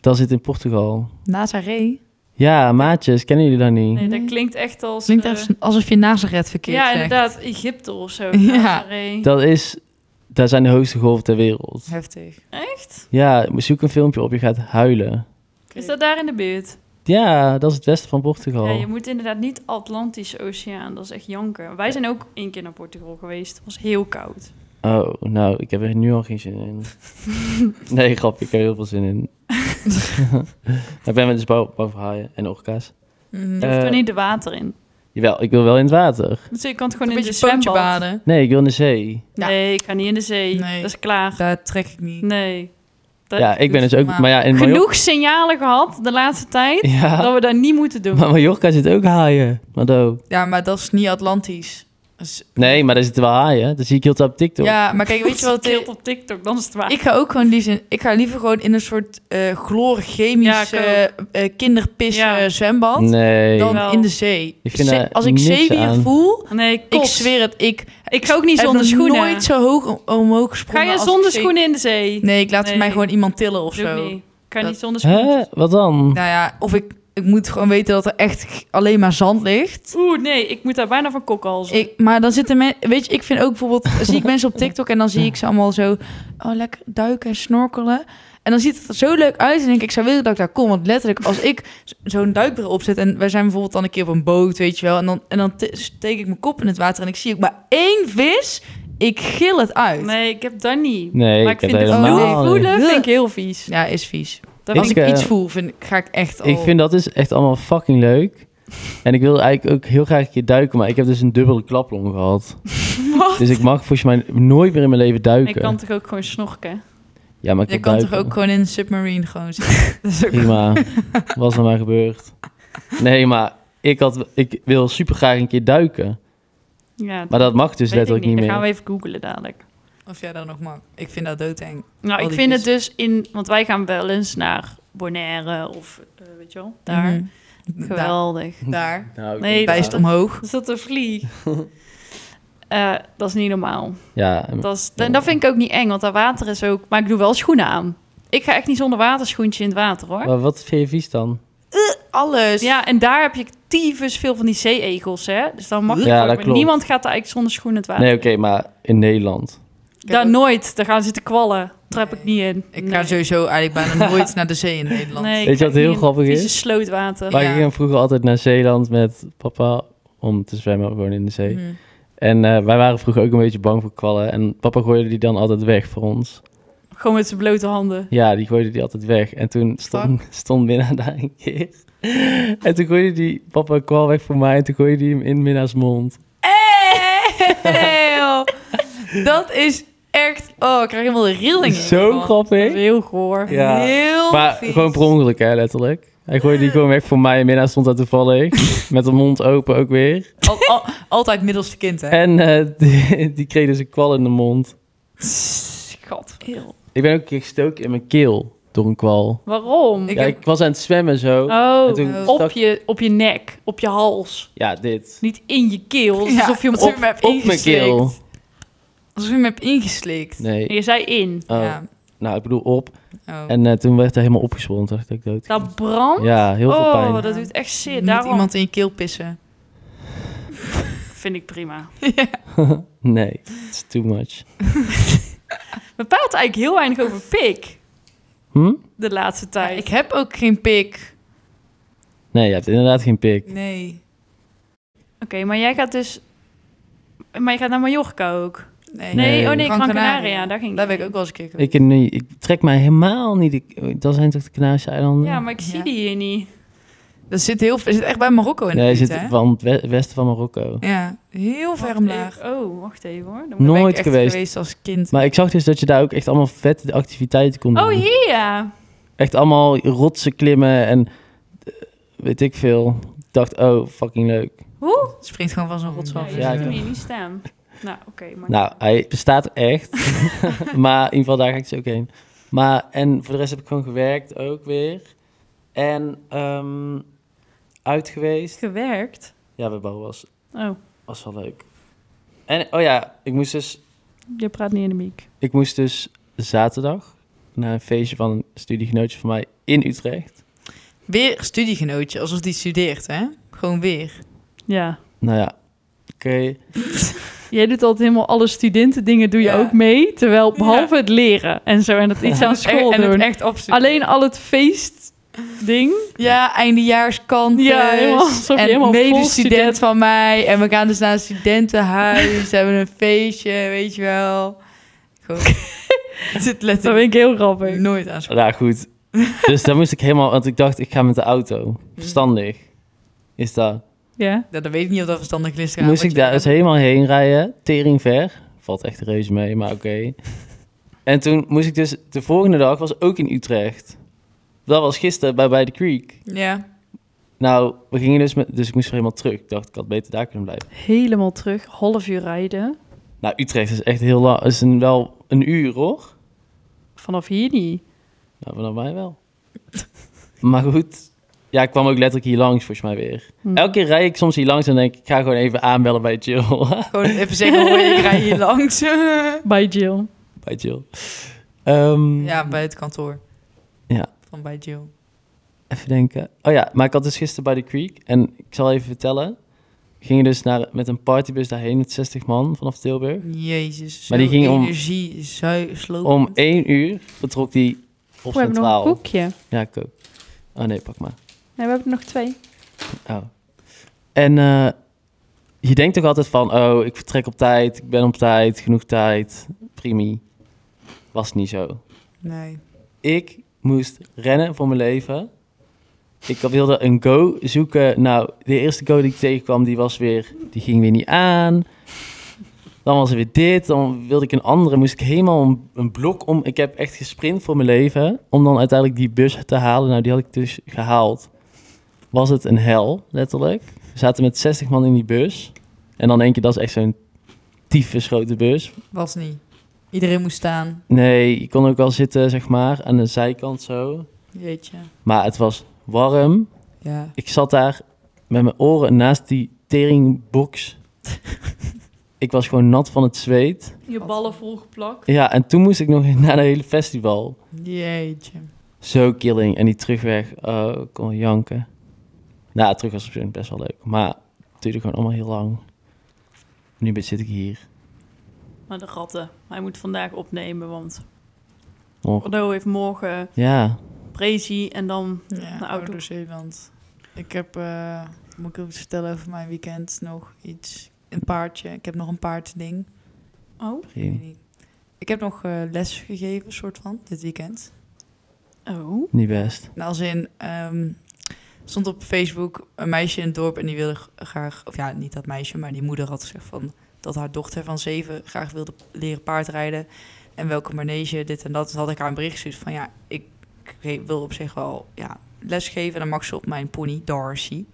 Dat zit in Portugal.
Nazaré?
Ja, maatjes, kennen jullie dat niet?
Nee,
Nee.
dat klinkt echt als...
Klinkt
eh,
echt alsof je Nazareth verkeerd
Ja,
zegt.
inderdaad. Egypte of zo.
*laughs*
eh,
Ja.
Nazaré.
Dat is, daar zijn de hoogste golven ter wereld.
Heftig.
Echt?
Ja, zoek een filmpje op, je gaat huilen.
Is dat daar in de buurt?
Ja, dat is het westen van Portugal.
Ja, je moet inderdaad niet Atlantische Oceaan. Dat is echt janken. Wij zijn ook één keer naar Portugal geweest. Het was heel koud.
Oh, nou, ik heb er nu al geen zin
*laughs*
in. nee, grap, ik heb heel veel zin in. ik ben met dus bouw, bouw voor haaien en orka's.
Mhm.
Je
Eh.
hoeft er niet de water in.
Jawel, ik wil wel in het water.
Dus je kan het
een
gewoon in de
beetje pootje
zwembad.
baden.
Nee, ik wil in de zee.
Ja.
Nee, ik ga niet in de zee.
Nee.
Dat is klaar.
Daar trek ik niet.
Nee. Dat-
ja, ik ben
dus
dus ook...
maar-
Maar ja, in Mallorca...
Genoeg signalen gehad de laatste tijd dat
*laughs* Ja,
we dat niet moeten doen.
maar Mallorca zit ook haaien. Mado.
Ja, maar dat is niet Atlantisch. Dat is-
Nee, maar daar zitten wel haaien. Dat zie ik heel tijd op TikTok.
Ja, maar kijk, weet je wat? het
Tilt
is?
op TikTok, dan is het waar.
Ik ga ook gewoon die zin. Ik ga liever gewoon in een soort eh
Ja,
chloorchemische
ik
eh, eh, kinderpis
Ja.
eh, zwembad
Nee.
dan
Wel.
in de zee.
Ik vind
Zee-
daar
als ik
niks
zeewier
aan.
voel,
Nee,
ik
kots.
zweer het. Ik
Ik ga ook niet
heb
zonder
nog
schoenen.
nooit zo hoog om- omhoog
Ga
gesprongen.
je
als
zonder
ik zee-
schoenen in de zee?
Nee, ik laat
Nee.
mij gewoon iemand tillen of
Doe ik
zo.
niet. Ik kan
Dat-
niet zonder schoenen.
Hè? Wat dan?
Nou ja, of ik, ik moet gewoon weten dat er echt g- alleen maar zand ligt.
Oeh, nee, ik moet daar bijna van kokhalzen.
Ik, maar dan zitten mensen, weet je, ik vind ook bijvoorbeeld, zie ik mensen op TikTok en dan zie ik ze allemaal zo, oh lekker duiken en snorkelen. En dan ziet het er zo leuk uit en denk ik, ik zou willen dat ik daar kom. Want letterlijk, als ik z- zo'n duikbril opzet en wij zijn bijvoorbeeld dan een keer op een boot, weet je wel. En dan, en dan te- steek ik mijn kop in het water en ik zie ook maar één vis. Ik gil het uit.
Nee, ik heb dat niet.
Nee,
maar
ik heb
vind het
helemaal
voelen-
niet.
voelen vind ik heel vies.
Ja, is vies.
Dat
Ik,
Als ik,
eh,
iets voel, vind, ik- ga ik echt al...
Ik vind dat is echt allemaal fucking leuk. En ik wil eigenlijk ook heel graag een keer duiken, maar ik heb dus een dubbele klaplong gehad.
Wat?
Dus ik mag volgens mij nooit meer in mijn leven duiken.
Ik kan toch ook gewoon snorken?
ja, maar ik
je
kan
kan toch
duiken.
ook gewoon in een submarine gewoon zitten. Dat is ook-
Prima. Wat is er maar gebeurd? Nee, maar ik, had, ik wil super graag een keer duiken.
Ja,
Maar dat mag dus
weet ik
letterlijk niet
Dan
meer.
gaan we even googlen dadelijk.
Of jij dat nog mag. Ik vind dat doodeng.
Nou, ik
Al Oh, die
vind het
vis.
dus in... Want wij gaan wel eens naar Bonaire of eh, weet je wel, daar.
Mhm. Daar. *laughs*
Geweldig.
daar.
Nou, ik
Nee,
denk-
daar
Bijst
is
omhoog.
Er zat een vlieg.
*laughs*
Eh, dat is niet normaal.
Ja, en-
Dat, is, en dat vind ik ook niet eng, want dat water is ook... Maar ik doe wel schoenen aan. Ik ga echt niet zonder waterschoentje in het water, hoor.
maar wat vind je vies dan?
Alles.
Dus-
Ja, en daar heb je tyfus veel van die zeeegels, hè? Dus dan mag je
Ja,
gewoon-
dat
maar
klopt.
Niemand gaat daar eigenlijk zonder schoenen het water.
Nee, oké, maar in Nederland.
Ik,
Daar
heb ook-
nooit. Daar gaan zitten kwallen. Trap ik niet in.
ik
Nee.
ga sowieso eigenlijk *laughs* bijna nooit naar de zee in Nederland.
Nee, ik
Weet je
ga
wat heel
niet in
grappig
vieze
is?
slootwater.
Maar
Ja.
ik ging vroeger altijd naar Zeeland met papa om te zwemmen gewoon in de zee.
Mhm.
En eh, wij waren vroeger ook een beetje bang voor kwallen. En papa gooide die dan altijd weg voor ons.
Gewoon met zijn blote
*laughs*
handen.
Ja, die gooide die altijd weg. En toen stond, *laughs* stond Minna daar een keer. En toen gooide die papa een kwal weg voor mij. En toen gooide die hem in Minna's mond.
Eeuw. dat is echt... Oh, ik krijg helemaal de rilling.
Zo
Dat is
grappig.
heel goor.
Ja.
Heel
Maar
vies.
gewoon per ongeluk, hè, letterlijk. Hij gooide die gewoon weg voor mij. En Minna stond daar
*laughs*
toevallig. met haar mond open ook weer.
Al- al- altijd middelste kind, hè?
En eh, die, die kreeg dus een kwal in de mond.
Schat. Heel.
Ik ben ook een keer gestoken in mijn keel door een kwal.
Waarom?
Ik
ja,
heb-
ik was aan het zwemmen zo.
Oh,
En toen
op,
stak-
je, op je nek, op je hals.
Ja, dit.
Niet in je keel. Het is
Ja,
alsof je hem
alsof
op...
je hem hebt
Op mijn keel.
ingeslikt. Alsof je hem hebt ingeslikt.
Nee.
Je zei in.
Oh,
Ja.
Nou, ik bedoel op.
Oh.
En eh, toen werd hij helemaal opgezwollen. Toen dacht ik dood.
Dat brandt.
Ja, heel veel
oh,
pijn.
dat doet echt shit.
Moet
Daarom
iemand in je keel pissen.
vind ik prima.
Nee, it's too much.
We praten eigenlijk heel weinig over pik
Hm?
de laatste
Ja,
tijd.
ik heb ook geen pik.
Nee, je hebt inderdaad geen pik.
Nee.
Oké, maar jij gaat dus... Maar je gaat naar Mallorca ook.
Nee,
Nee,
Nee.
oh nee,
Gran
Gran
Canaria.
Canaria. Daar ging
Daar ben ik ook wel eens een keer geweest.
Ik, nee, ik trek mij helemaal niet. Ik, dat zijn toch de Canarische eilanden?
Ja, maar ik zie
Ja.
die hier niet.
Dat zit heel er zit echt bij Marokko in de
Nee, je
buurt,
zit
hè?
van het we- westen van Marokko.
Ja, heel ver
Wacht
omlaag.
even. Oh, wacht even hoor. Dan moet-
Daar ben ik
Nooit
echt
geweest.
als kind.
Maar ik zag dus dat je daar ook echt allemaal vette activiteiten kon doen.
Oh, hier ja.
Echt allemaal rotsen klimmen en eh, weet ik veel. Ik dacht, oh, fucking leuk.
Hoe?
Springt gewoon van zo'n rots
Ja,
af.
je
Ja, ik
ziet hem
ook.
hier niet staan. Nou, oké. maar-
Nou, hij bestaat echt. *laughs* maar in ieder geval, daar ga ik zo ook heen. Maar, en voor de rest heb ik gewoon gewerkt ook weer. En ehm uit geweest.
Gewerkt?
Ja, bij Bo was,
Oh,
was wel leuk. En, oh ja, ik moest dus,
je praat niet in de mic.
ik moest dus zaterdag naar een feestje van een studiegenootje van mij in Utrecht.
Weer studiegenootje, alsof die studeert, hè? Gewoon weer.
Ja.
Nou ja, oké.
Jij doet altijd helemaal alle studentendingen doe je
Ja.
ook mee. Terwijl,
Ja.
behalve het leren en zo en *laughs* dat iets aan school
en het
doen.
echt opzoeken.
Alleen al het feestding.
Ja, eindejaarskant.
Ja, helemaal alsof je
En
helemaal vol
medestudent
student-
van mij. En we gaan dus naar een studentenhuis. *laughs* Ze hebben een feestje, weet je wel.
*laughs*
Gewoon. Het
Dat
zit
vind
letterlijk
ik heel grappig.
nooit aan school.
Nou goed. dus daar moest ik helemaal, want ik dacht, ik ga met de auto. Verstandig. Is dat.
Ja.
Ja, dan weet ik niet of dat verstandig is. gaan,
Moest
want
ik
je-
daar dus helemaal heen rijden, tering ver. Valt echt reuze mee, maar oké. En toen moest ik dus, de volgende dag was ook in Utrecht. Dat was gisteren bij By the Creek.
Ja.
Nou, we gingen dus met, dus ik moest weer helemaal terug. Ik dacht, ik had beter daar kunnen blijven.
Helemaal terug. Half uur rijden.
Nou, Utrecht is echt heel lang, is een, wel een uur hoor.
Vanaf hier niet.
Nou, vanaf mij wel. maar goed, ja, ik kwam ook letterlijk hier langs volgens mij weer.
Hm.
Elke keer rijd ik soms hier langs en denk ik, ik ga gewoon even aanbellen bij Jill. *laughs*
Gewoon even zeggen, hoor, ik rij hier langs.
Mm.
Bij Jill.
bij Jill. Ehm,
ja, bij het kantoor.
Ja.
Van bij Jill.
Even denken. Oh ja, maar ik had dus gisteren bij de Creek. En ik zal even vertellen. We gingen dus naar, met een partybus daarheen met 60 man vanaf Tilburg.
Jezus.
Maar die
zo
ging om-
energie zuislopen.
Om e- 1 uur vertrok die op
We hebben nog een
centraal.
koekje.
Ja, ik ook. Oh nee, pak maar.
Nee, we hebben nog twee.
Oh. En eh, je denkt toch altijd van, oh, ik vertrek op tijd, ik ben op tijd, genoeg tijd, prima. Was niet zo.
Nee.
Ik moest rennen voor mijn leven. Ik wilde een go zoeken. Nou, de eerste go die ik tegenkwam, die was weer, die ging weer niet aan. Dan was er weer dit, dan wilde ik een andere. Moest ik helemaal een, een blok om. Ik heb echt gesprint voor mijn leven om dan uiteindelijk die bus te halen. Nou, die had ik dus gehaald. Was het een hel, letterlijk. We zaten met 60 man in die bus. En dan denk je, dat is echt zo'n tyfus grote bus.
Was niet.
Iedereen moest staan.
Nee, je kon ook wel zitten, zeg maar, aan de zijkant zo.
Jeetje.
Maar het was warm.
Ja.
Ik zat daar met mijn oren naast die teringbox. ik was gewoon nat van het zweet.
Je ballen volgeplakt.
Ja, en toen moest ik nog *laughs* naar het hele festival.
Jeetje.
Zo killing. En die terugweg, oh, ik kon janken. Nou, terug was op zich best wel leuk. Maar het duurde gewoon allemaal heel lang. Nu ben- zit ik hier.
Maar de ratten. Hij moet vandaag opnemen, want
Morgen.
Ordo heeft morgen
Ja,
Prezi en dan naar Outdoor.
Zeeland. Ik heb, eh, moet ik ook iets vertellen over mijn weekend? Nog iets. Een paardje. Ik heb nog een paardding.
Oh,
geen-
Ik weet niet. Ik heb nog eh, les gegeven, soort van, dit weekend.
oh.
niet best.
Nou, als in, ehm, stond op Facebook een meisje in het dorp en die wilde g- graag, of ja, niet dat meisje, maar die moeder had gezegd van dat haar dochter van zeven graag wilde leren paardrijden. En welke manege, dit en dat. Toen had ik haar een bericht gestuurd van ja, ik ge- wil op zich wel ja, les geven. En dan mag ze op mijn pony, Darcy.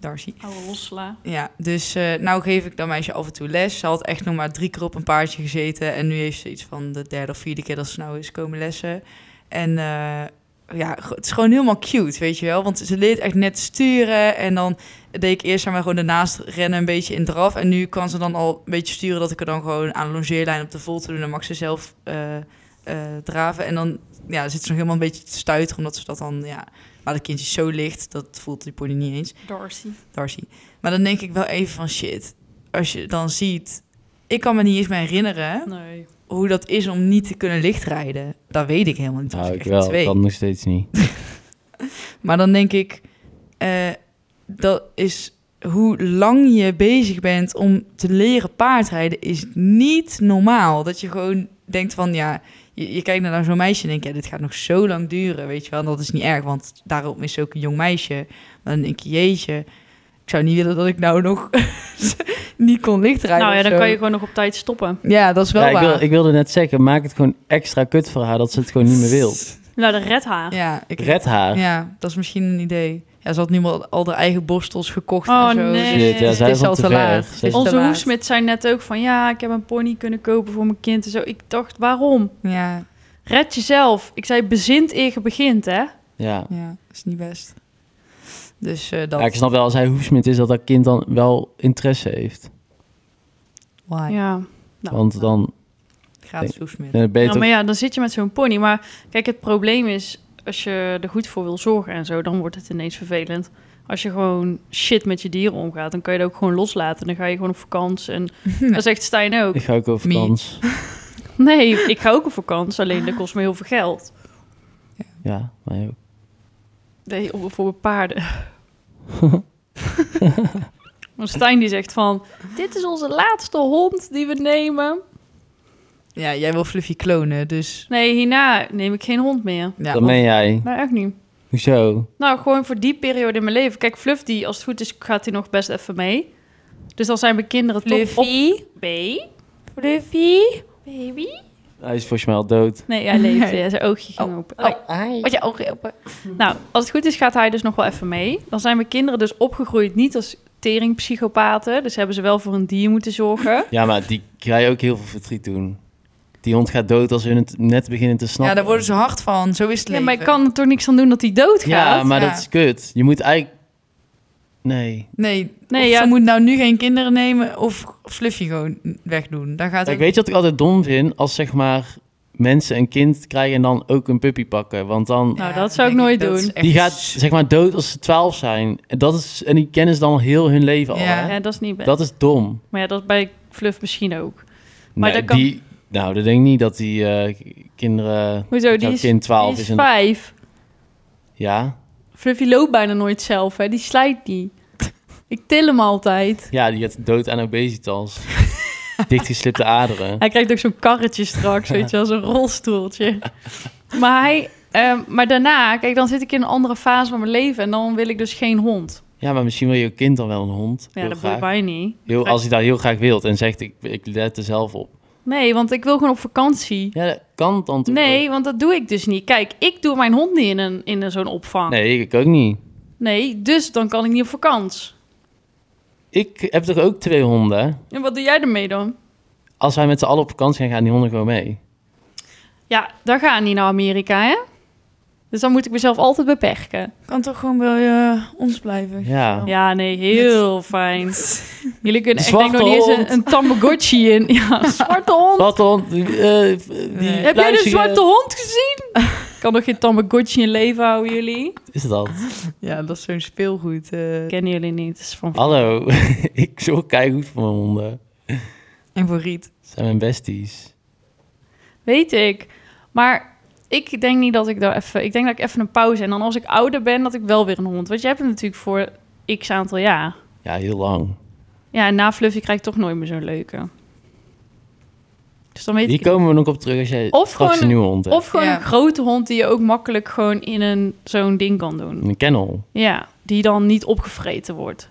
Darcy.
Oude Rosla.
Ja, dus eh, nou geef ik dat meisje af en toe les. Ze had echt nog maar drie keer op een paardje gezeten. En nu heeft ze iets van de derde of vierde keer dat ze nou is komen lessen. En eh, ja, go- het is gewoon helemaal cute, weet je wel. Want ze leert echt net sturen. En dan deed ik eerst zeg maar gewoon daarnaast rennen een beetje in draf. En nu kan ze dan al een beetje sturen dat ik er dan gewoon aan de longeerlijn op de volte doe. Dan mag ze zelf eh, eh, draven. En dan ja, zit ze nog helemaal een beetje te stuiteren. Omdat ze dat dan, ja... Maar dat kindje is zo licht, dat voelt die pony niet eens.
Darcy.
Darcy. Maar dan denk ik wel even van shit. Als je dan ziet. Ik kan me niet eens meer herinneren
Nee.
hoe dat is om niet te kunnen lichtrijden. Dat weet ik helemaal niet. Dat
Nou,
was
ik
echt
wel.
twee.
Kan nog steeds niet.
Maar dan denk ik, eh, dat is hoe lang je bezig bent om te leren paardrijden, is niet normaal. Dat je gewoon denkt van, ja, je, je kijkt naar zo'n meisje en denk je, ja, dit gaat nog zo lang duren, weet je wel. En dat is niet erg, want daarom is ze ook een jong meisje. Maar dan denk je, jeetje, ik zou niet willen dat ik nou nog *laughs* niet kon lichtrijden
Nou ja,
of
dan
zo.
kan je gewoon nog op tijd stoppen.
Ja, dat is wel
Ja, ik,
waar.
wil, ik wilde net zeggen, maak het gewoon extra kut voor haar dat ze het gewoon niet meer wil.
Nou, de red haar.
Ja, ik...
Red haar.
Ja, dat is misschien een idee. Ja, ze had nu al, al haar eigen borstels gekocht
Oh,
en zo.
nee.
Dus
Shit, ja, zij
het is
is al
al
te
te
ver.
laat.
Zij
Het is
is-
te
Onze
laat.
hoesmid zei net ook van ja, ik heb een pony kunnen kopen voor mijn kind en zo. Ik dacht, waarom?
Ja,
Red jezelf. Ik zei, bezint eer je begint, hè?
Ja.
ja, is niet best. Dus eh, dat...
Ja, ik snap wel als hij hoefsmid is dat dat kind dan wel interesse heeft.
Nou, Why?
Ja. Nou,
Want dan
Gratis hoesmid.
ben je
Ja,
beter.
maar ja, dan zit je met zo'n pony. Maar kijk, het probleem is, als je er goed voor wil zorgen en zo, dan wordt het ineens vervelend. Als je gewoon shit met je dieren omgaat, dan kan je het ook gewoon loslaten. Dan ga je gewoon op vakantie. *laughs* En dat zegt Stijn ook.
Ik ga ook over
Me.
kans.
Nee, ik ga ook op vakantie, alleen dat kost me heel veel geld.
Ja, mij ook.
Nee, om- voor mijn paarden. *laughs* Maar Stijn die zegt van, dit is onze laatste hond die we nemen.
Ja, jij wil Fluffy klonen, dus...
Nee, hierna neem ik geen hond meer.
Ja,
dat meen jij.
Nee, echt niet.
Hoezo?
Nou, gewoon voor die periode in mijn leven. Kijk, Fluff, die, als het goed is, gaat hij nog best even mee. Dus dan zijn mijn kinderen toch op... Baby?
Fluffy.
Baby?
Hij is volgens mij al dood.
Nee, hij leefde. Ja, zijn oogje ging open. Oh.
Wat je ogen open.
*laughs* Nou, als het goed is, gaat hij dus nog wel even mee. Dan zijn mijn kinderen dus opgegroeid niet als teringpsychopaten. Dus hebben ze wel voor een dier moeten zorgen. *laughs*
Ja, maar die ga je ook heel veel verdriet doen. Die hond gaat dood als hun het net beginnen te snappen.
ja, daar worden ze hard van. Zo is het
Ja,
leven.
maar ik kan er toch niks aan doen dat hij doodgaat?
Ja, maar
ja.
dat is kut. Je moet eigenlijk... Nee.
Nee,
Nee,
nee
ja.
ze moet nou nu geen kinderen nemen of Fluffy gewoon wegdoen. Daar gaat
Ik
ook...
weet je wat ik altijd dom vind? Als zeg maar mensen een kind krijgen en dan ook een puppy pakken. Want dan...
Nou, dat zou ik
denk
nooit
dat is
doen.
echt
Die gaat
s-
zeg maar dood als ze 12 zijn. En, dat is, en die kennen ze dan al heel hun leven al.
Ja.
hè?
Ja, dat is niet best.
Dat is dom.
Maar ja, dat is bij Fluff misschien ook. Maar
Maar
dat kan-
die, nou, dat denk ik niet dat die eh, kinderen...
Hoezo, Oh, die
jouw
is,
kind 12
die is
is een-
vijf.
Ja?
Fluffy loopt bijna nooit zelf, hè. Die
*laughs*
slijt niet. Ik til hem altijd.
Ja, die gaat dood aan
*laughs*
obesitas. Dichtgeslipte aderen.
Hij krijgt ook zo'n karretje straks, weet je wel, zo'n rolstoeltje. Maar, hij, ehm, maar daarna, kijk, dan zit ik in een andere fase van mijn leven... en dan wil ik dus geen hond.
Ja, maar misschien wil je kind dan wel een hond.
Ja,
heel
dat boeit
graag.
mij niet.
Heel, als hij dat heel graag wilt en zegt, ik, ik let er zelf op.
Nee, want ik wil gewoon op vakantie.
Ja, dat kan dan toch
Nee, want dat doe ik dus niet. Kijk, ik doe mijn hond niet in, een, in een- zo'n opvang.
ook? Nee, ik ook niet.
Nee, dus dan kan ik niet op vakantie.
Ik heb toch ook twee honden?
En wat doe jij ermee dan?
als wij met z'n allen op vakantie gaan, gaan die honden gewoon mee.
Ja, daar gaan die naar Amerika, hè? Dus dan moet ik mezelf altijd beperken.
Kan toch gewoon bij eh, ons blijven?
Ja.
Ja, nee, heel fijn. Jullie kunnen echt denk
Zwarte
ik nog niet eens
hond.
een, een Tamagotchi in. Ja, een
*laughs*
zwarte hond.
Wat hond? eh, eh, die
Heb jij de
pluizige-
zwarte hond gezien? Ik kan nog geen Tamagotchi in leven houden, jullie?
Is dat?
Ja, dat is zo'n speelgoed. eh.
Kennen jullie niet. Het is van...
Hallo, *laughs* ik zorg keihard voor mijn honden.
en voor Riet.
Ze zijn mijn besties.
Weet ik. Maar ik denk niet dat ik daar even... Ik denk dat ik even een pauze... En dan als ik ouder ben, dat ik wel weer een hond... Want je hebt hem natuurlijk voor x aantal jaar.
Ja, heel lang.
Ja, en na Fluffy krijg ik toch nooit meer zo'n leuke. Dus dan weet
Die
ik...
komen we nog op terug als jij
Of
straks
gewoon-
een nieuwe hond hebt.
Of gewoon
Ja.
een grote hond die je ook makkelijk gewoon in een zo'n ding kan doen.
Een kennel.
Ja, die dan niet opgevreten wordt.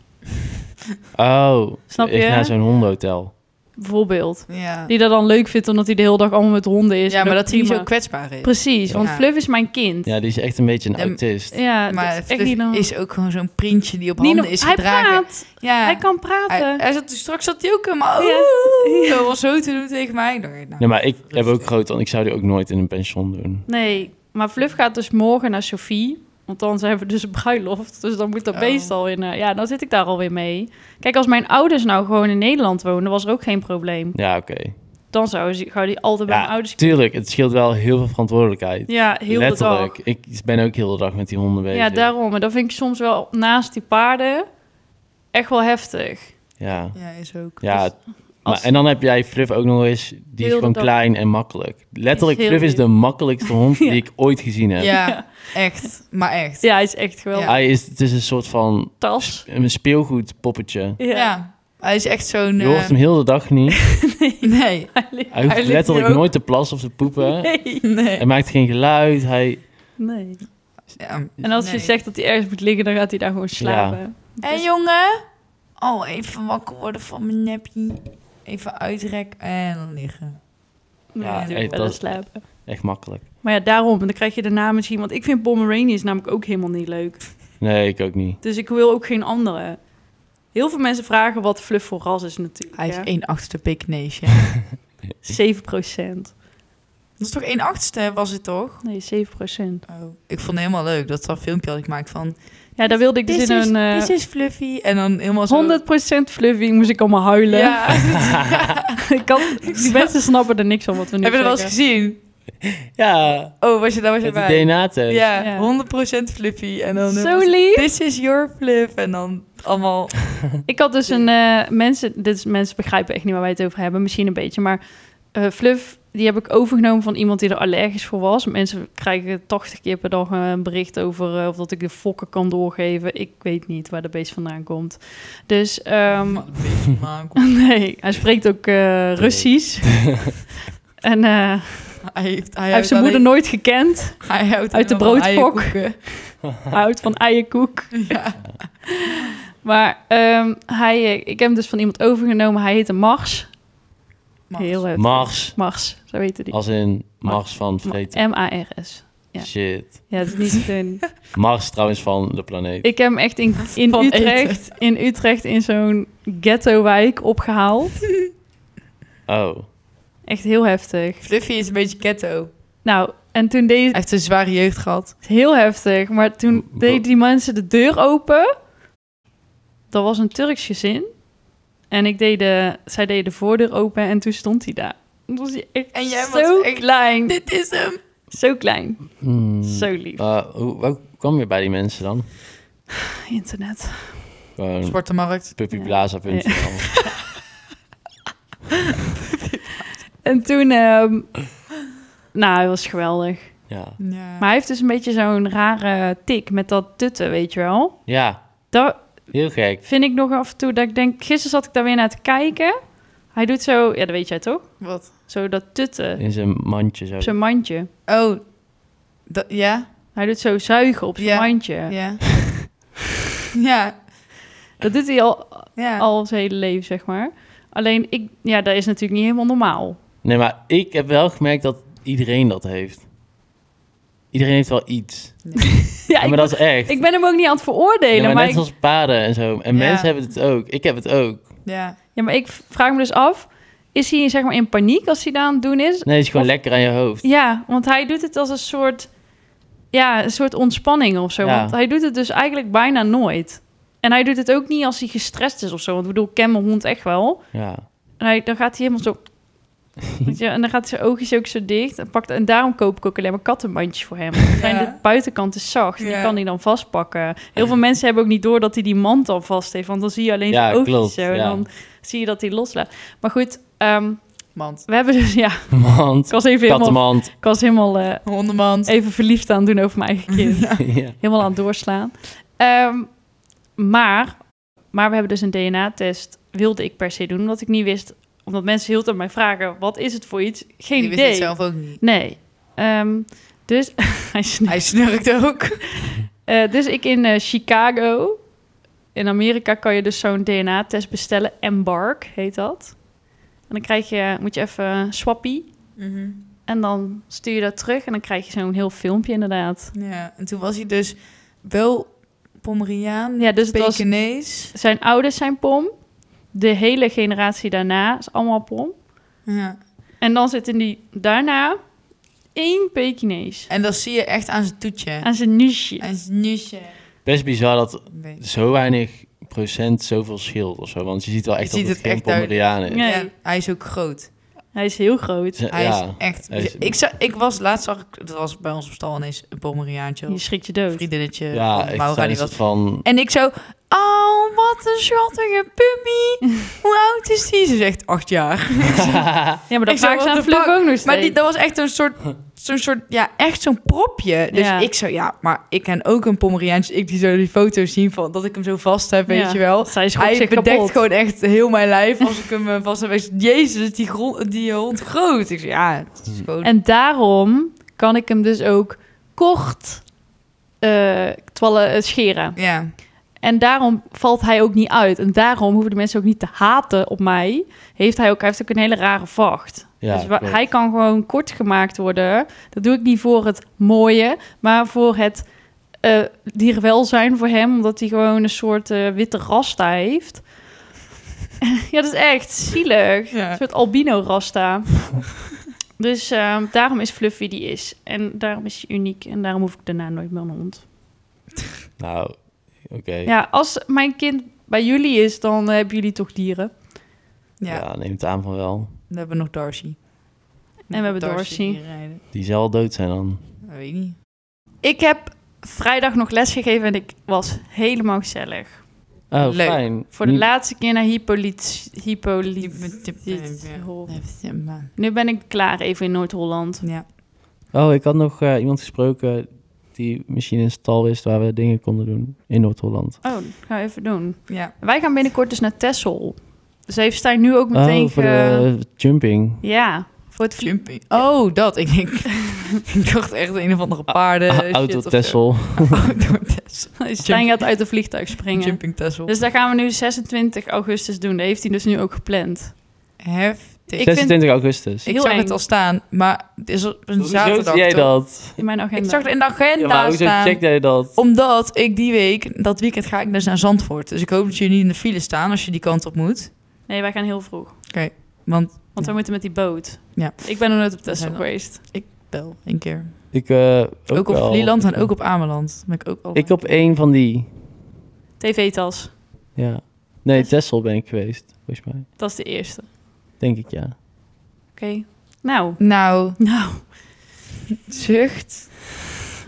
Oh,
Snap
Ik
je?
naar zo'n hondenhotel.
Bijvoorbeeld.
Ja.
Die dat dan leuk vindt omdat hij de hele dag allemaal met honden is.
ja,
en
maar
ook
dat hij niet
prima.
zo kwetsbaar is.
Precies, want
Ja.
Fluff is mijn kind. Ja,
Ja, die is echt een beetje een
Ja, m-
autist.
maar
Maar
dat is echt niet normaal.
is ook gewoon zo'n printje die op
Niet
handen
no-
is
hij
gedragen.
praat.
Ja.
Hij kan praten.
Hij, hij zat, straks zat hij ook helemaal
Ja.
oeh, zo, was zo te doen tegen mij. Nou, nou,
Nee, maar ik heb ook groot, want ik zou die ook nooit in een pension doen.
Nee, maar Fluff gaat dus morgen naar Sophie. Want dan hebben we dus een bruiloft. Dus dan moet dat
Oh.
beest al in. eh, ja, dan zit ik daar alweer mee. Kijk, als mijn ouders nou gewoon in Nederland woonden, was er ook geen probleem.
Ja, oké.
Dan zou ze, gauw die altijd bij mijn
Ja,
ouders.
tuurlijk. Het scheelt wel heel veel verantwoordelijkheid.
Ja, heel de dag.
Letterlijk. Ik ben ook heel de dag met die honden bezig.
Ja, daarom. En dat vind ik soms wel naast die paarden echt wel heftig.
Ja.
ja, is ook.
Ja,
als-
maar, en dan heb jij Fluff ook nog eens, die
Heel
is
de
gewoon
dag.
klein en makkelijk. Letterlijk,
heel
Fluff is
lief.
de makkelijkste hond die ik ooit gezien heb.
Ja, echt. Maar echt.
Ja, hij is echt geweldig.
Ja.
Hij is, het is een soort van
Tas.
een speelgoed poppetje.
Ja.
Ja. Hij is echt zo'n...
Je
eh,
hoort hem heel de dag niet.
*laughs* Nee.
Hij hoeft
ligt
letterlijk
hier ook.
nooit te plassen of te poepen.
Nee.
Hij maakt geen geluid. Hij,
*laughs* nee.
Ja.
En als je
Nee.
zegt dat hij ergens moet liggen, dan gaat hij daar gewoon slapen. Dus
Hé jongen. Oh, even wakker worden van mijn neppie. Even uitrekken en dan liggen.
Nee,
Ja,
natuurlijk
hey,
wel
dat-
eens slapen.
echt makkelijk.
Maar ja, daarom. En dan krijg je daarna misschien... Want ik vind Pomeranians namelijk ook helemaal niet leuk.
Nee, ik ook niet.
Dus ik wil ook geen andere. Heel veel mensen vragen wat Fluff voor ras is natuurlijk.
Hij is
hè.
1 achtste
*laughs*
Big Nation.
7%.
Dat is toch 1 achtste was het toch?
Nee, 7%.
Oh. Ik vond het helemaal leuk. Dat dat filmpje had ik gemaakt van...
Ja, daar wilde ik dus
This
in
is,
een... eh,
this is Fluffy. En dan helemaal zo...
100% Fluffy moest ik allemaal huilen.
Ja.
*laughs*
*laughs*
*laughs*
ik kan, die mensen snappen er niks van wat we nu
Heb je dat wel eens
zeggen.
gezien?
Ja,
Oh, was je, daar was je
het
bij.
DNA-test.
Ja,
Ja.
100% Fluffy. En dan
Zo lief.
This is your fluff. En dan allemaal...
Ik had dus een... eh, mensen, dit is, mensen begrijpen echt niet waar wij het over hebben. Misschien een beetje, maar... eh, Fluff, die heb ik overgenomen van iemand die er allergisch voor was. Mensen krijgen 80 keer per dag een bericht over... eh, of dat ik de fokken kan doorgeven. Ik weet niet waar de beest vandaan komt. Dus...
*laughs*
ehm, nee, hij spreekt ook eh, Russisch. en eh,
hij heeft,
hij heeft zijn moeder nooit gekend.
Hij houdt
uit de
helemaal van
broodvok.
eierkoeken.
houdt van eierkoek.
Ja.
Maar ehm, hij, eh, ik heb hem dus van iemand overgenomen. Hij heette Mars.
Maar-
Heel heftig.
Mars.
Mars, zo heette die.
Als in Mars van
Ma-
vreten.
M-A-R-S. ja.
Shit.
Ja, dat is niet te doen.
Mars trouwens van de planeet.
Ik heb hem echt in, in,
Van
Utrecht, in Utrecht in zo'n ghetto-wijk opgehaald.
Oh.
Echt heel heftig.
Fluffy is een beetje ghetto.
Nou, en toen deed
Hij heeft een zware jeugd gehad. *laughs*
Heel heftig. Maar toen
Wa-
deden die mensen de deur open. Dat was een Turks gezin. En ik deed de, zij deden de voordeur open en toen stond hij daar. Toen was hij echt
En jij was
zo
echt-
klein.
Dit is hem.
Zo klein.
Hmm.
Zo lief.
Eh, hoe, hoe kwam je bij die mensen dan?
Internet.
Gewoon
Zwarte markt.
puppyblaza.nl.
En toen... ehm, nou, hij was geweldig.
Ja.
Ja.
Maar hij heeft dus een beetje zo'n rare tik met dat tutten, weet je wel.
ja,
Dat
heel gek.
vind ik nog af en toe dat ik denk... Gisteren zat ik daar weer naar te kijken. Hij doet zo... Ja, dat weet jij toch?
Wat?
Zo dat tutten.
In zijn mandje zo.
Op zijn mandje.
Oh. Dat, ja?
Hij doet zo zuigen op zijn
Ja,
mandje. *laughs*
Ja. ja.
Dat doet hij al,
Ja.
al zijn hele leven, zeg maar. Alleen, ik, ja, dat is natuurlijk niet helemaal normaal. *laughs*
Nee, maar ik heb wel gemerkt dat iedereen dat heeft. Iedereen heeft wel iets.
Ja,
Ja, maar
ik,
dat is echt.
*laughs* ik ben hem ook niet aan het veroordelen.
Ja, maar
maar
net
ik-
als paarden en zo. En
Ja.
mensen hebben het ook. Ik heb het ook.
ja.
ja, maar ik vraag me dus af... is hij zeg maar in paniek als hij daar aan het doen is?
Nee, het is gewoon lekker aan je hoofd.
Ja, want hij doet het als een soort, ja, een soort ontspanning of zo.
Ja.
Want hij doet het dus eigenlijk bijna nooit. En hij doet het ook niet als hij gestrest is of zo. Want ik bedoel, ik ken mijn hond echt wel.
Ja.
En hij, dan gaat hij helemaal
*laughs*
zo... Weet je, en dan gaat zijn oogjes ook zo dicht. En, pakt, en daarom koop ik ook alleen maar kattenbandjes voor hem. Want zijn De buitenkant is zacht. en Die
Ja.
kan hij dan vastpakken. Heel veel mensen hebben ook niet door dat hij die mand al vast heeft. Want dan zie je alleen
Ja,
zijn oogjes
klopt,
zo. En
ja.
dan zie je dat hij loslaat. Maar goed, ehm,
Mand.
we hebben dus... *laughs* Ja, ik
*laughs* Mand,
was even helemaal,
kattenmand.
ik was helemaal eh,
Hondenmand.
even verliefd aan het doen over mijn
*laughs*
eigen kind.
*laughs* ja.
Helemaal aan het doorslaan. Ehm, maar, maar we hebben dus een DNA-test. Wilde ik per se doen, omdat ik niet wist... Omdat mensen heel de tijd mij vragen, wat is het voor iets? Geen
Die wist
idee.
het zelf ook niet.
Nee. Ehm, dus, *laughs* hij snakt.
Hij snurkt ook.
Eh, dus ik in eh, Chicago, in Amerika, kan je dus zo'n DNA-test bestellen. Embark heet dat. En dan krijg je, moet je even eh, swappie.
Mhm.
En dan stuur je dat terug en dan krijg je zo'n heel filmpje inderdaad.
Ja, en toen was hij dus wel Pomeriaan,
Ja, dus het was-
Pekinees.
Zijn ouders zijn pom. De hele generatie daarna is allemaal pom.
Ja.
En dan zit in die daarna één Pekinees.
En dat zie je echt aan zijn toetje.
Aan zijn niche.
Aan zijn nusje.
Best bizar dat
Nee.
zo weinig procent zoveel scheelt of zo. Want je ziet wel echt
Je
dat
ziet
het,
het
geen
echt duidelijk.
Pomeriaan is.
Nee.
Ja, hij is ook groot.
Hij is heel groot.
Ze-
Hij
ja.
is echt...
Hij is-
Ik, zag, ik was laatst, zag ik, dat was bij ons op stal ineens een Pomeriaantje.
Je
Een
schrikt je dood.
vriendinnetje
ja,
van
echt
Maura,
zijn
die
een soort
eh, was... *laughs*
van... *laughs*
En ik zo, oh, wat een schattige
*laughs*
puppy. Hoe oud is die? Ze zegt acht jaar.
Ja, maar dat vragen
Ik zou
ze
what
aan
the
Fluff
fuck?
ook nog steeds.
Maar die, dat was echt een soort, zo'n soort, ja, echt zo'n propje. Dus
Ja.
ik zo, ja, maar ik ken ook een Pomeriaantje. Ik die zo die foto's zien van dat ik hem zo vast heb, weet
Ja.
je wel.
Zij schrokt
Hij
zich
bedekt
kapot.
gewoon echt heel mijn lijf als ik hem eh, vast heb. Ik zeg, Jezus, die, grond, die hond groot. Ik zeg, ja, het is gewoon...
Hmm. En daarom kan ik hem dus ook kort eh twallen, eh, scheren.
ja.
En daarom valt hij ook niet uit. En daarom hoeven de mensen ook niet te haten op mij. Heeft hij, ook, hij heeft ook een hele rare vacht.
Ja,
dus wa-
klopt.
hij kan gewoon kort gemaakt worden. Dat doe ik niet voor het mooie, maar voor het eh dierenwelzijn voor hem. Omdat hij gewoon een soort eh, witte rasta heeft. *laughs* ja, dat is echt zielig.
Ja.
Een soort albino
*laughs*
rasta. dus ehm, daarom is Fluffy die is. En daarom is hij uniek. En daarom hoef ik daarna nooit meer een hond.
Nou, oké.
Ja, als mijn kind bij jullie is, dan eh, hebben jullie toch dieren.
Ja,
Ja. neem het aan van wel.
dan hebben we nog Darcy.
we hebben Darcy.
hier rijden.
Die zal wel dood zijn dan.
Dat weet ik niet.
Ik heb vrijdag nog lesgegeven en ik was helemaal gezellig.
Oh,
Leuk.
fijn.
Voor de
Nu-
laatste keer naar Hippolyt...
Die-
Hippolyt...
die- die- die-
Nu ben ik klaar even in Noord-Holland.
Ja.
Oh, ik had nog eh, iemand gesproken die misschien in stal wist waar we dingen konden doen in Noord-Holland.
Oh, dat gaan we even doen.
Ja.
Wij gaan binnenkort dus naar Texel. Dus heeft Stijn nu ook meteen...
oh, voor
ge-
eh,
de jumping.
Ja, voor het vlie-
Jumping. Oh, dat. Ik, denk, *laughs* ik dacht echt een of andere paarden.
Ah,
shit
Auto
of zo.
Tessel.
Outdoor
*laughs*
Tessel.
Stijn gaat uit de vliegtuig springen.
Jumping Tessel.
Dus dat gaan we nu 26 augustus doen. Dat heeft hij dus nu ook gepland.
Heftig.
Ik vind-
26 augustus.
Ik
Ik
heel
zag
eng.
het al staan, maar het is op een zaterdag.
jij
toch?
dat?
In mijn agenda.
Ik zag het in de
Ja,
agenda
maar hoezo
staan.
check jij dat?
Omdat ik die week, dat weekend ga ik dus naar Zandvoort. Dus ik hoop dat jullie niet in de file staan als je die kant op moet.
Nee, wij gaan heel vroeg.
Want
Want we moeten met die boot.
Ja.
Ik ben nog nooit op Texel
zijn al-
geweest.
wel, één keer.
Ik, eh,
Ook, op
wel.
Vlieland en ook op Ameland. Ben ik ook al.
Ik op één van die.
TV-tas.
Ja. Nee,
Tessel.
Tessel ben ik geweest, volgens mij.
Dat is de eerste. Oké.
Denk ik, ja.
Nou.
Nou,
Nou.
zucht.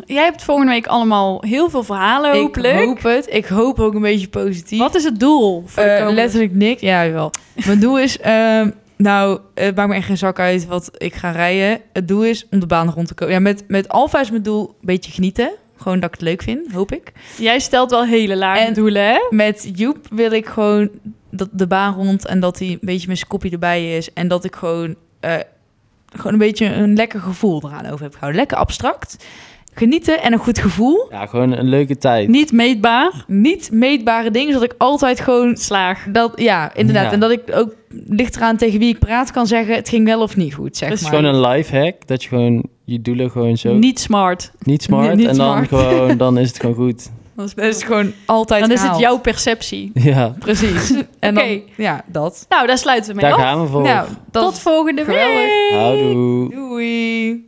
Jij hebt volgende week allemaal heel veel verhalen, hopelijk.
Ik hoop het. Ik hoop ook een beetje positief.
Wat is het doel voor de
Eh,
komende-
letterlijk niks. Ja, wel. Mijn doel is, ehm, nou, het maakt me echt geen zak uit wat ik ga rijden. Het doel is om de baan rond te komen. Ja, met, met Alfa is mijn doel een beetje genieten. Gewoon dat ik het leuk vind, hoop ik.
Jij stelt wel hele lage
En-
doelen, hè?
Met Joep wil ik gewoon dat de baan rond en dat hij een beetje met zijn kopje erbij is. En dat ik gewoon, eh, gewoon een beetje een lekker gevoel eraan over heb gehouden. Lekker abstract. Genieten en een goed gevoel.
Ja, gewoon een leuke tijd.
Niet meetbaar.
Niet meetbare dingen, zodat ik altijd gewoon
Slaag.
Dat, ja, inderdaad.
Ja.
En dat ik ook licht eraan tegen wie ik praat kan zeggen... het ging wel of niet goed, zeg
Dus
Het
maar.
is gewoon een life hack. Dat je gewoon je doelen gewoon zo. Niet,
Niet smart.
smart.
Nee, niet
en dan
smart. *laughs*
gewoon, dan is het gewoon goed.
Dan is,
Dat is gewoon altijd
dan is het
gehaald.
jouw perceptie.
Ja,
Precies. En
Oké.
dan, ja, dat.
Nou, daar sluiten we mee
daar
af.
gaan we voor.
Nou, dat
Tot volgende
geweldig.
week.
Houdoe.
Doei.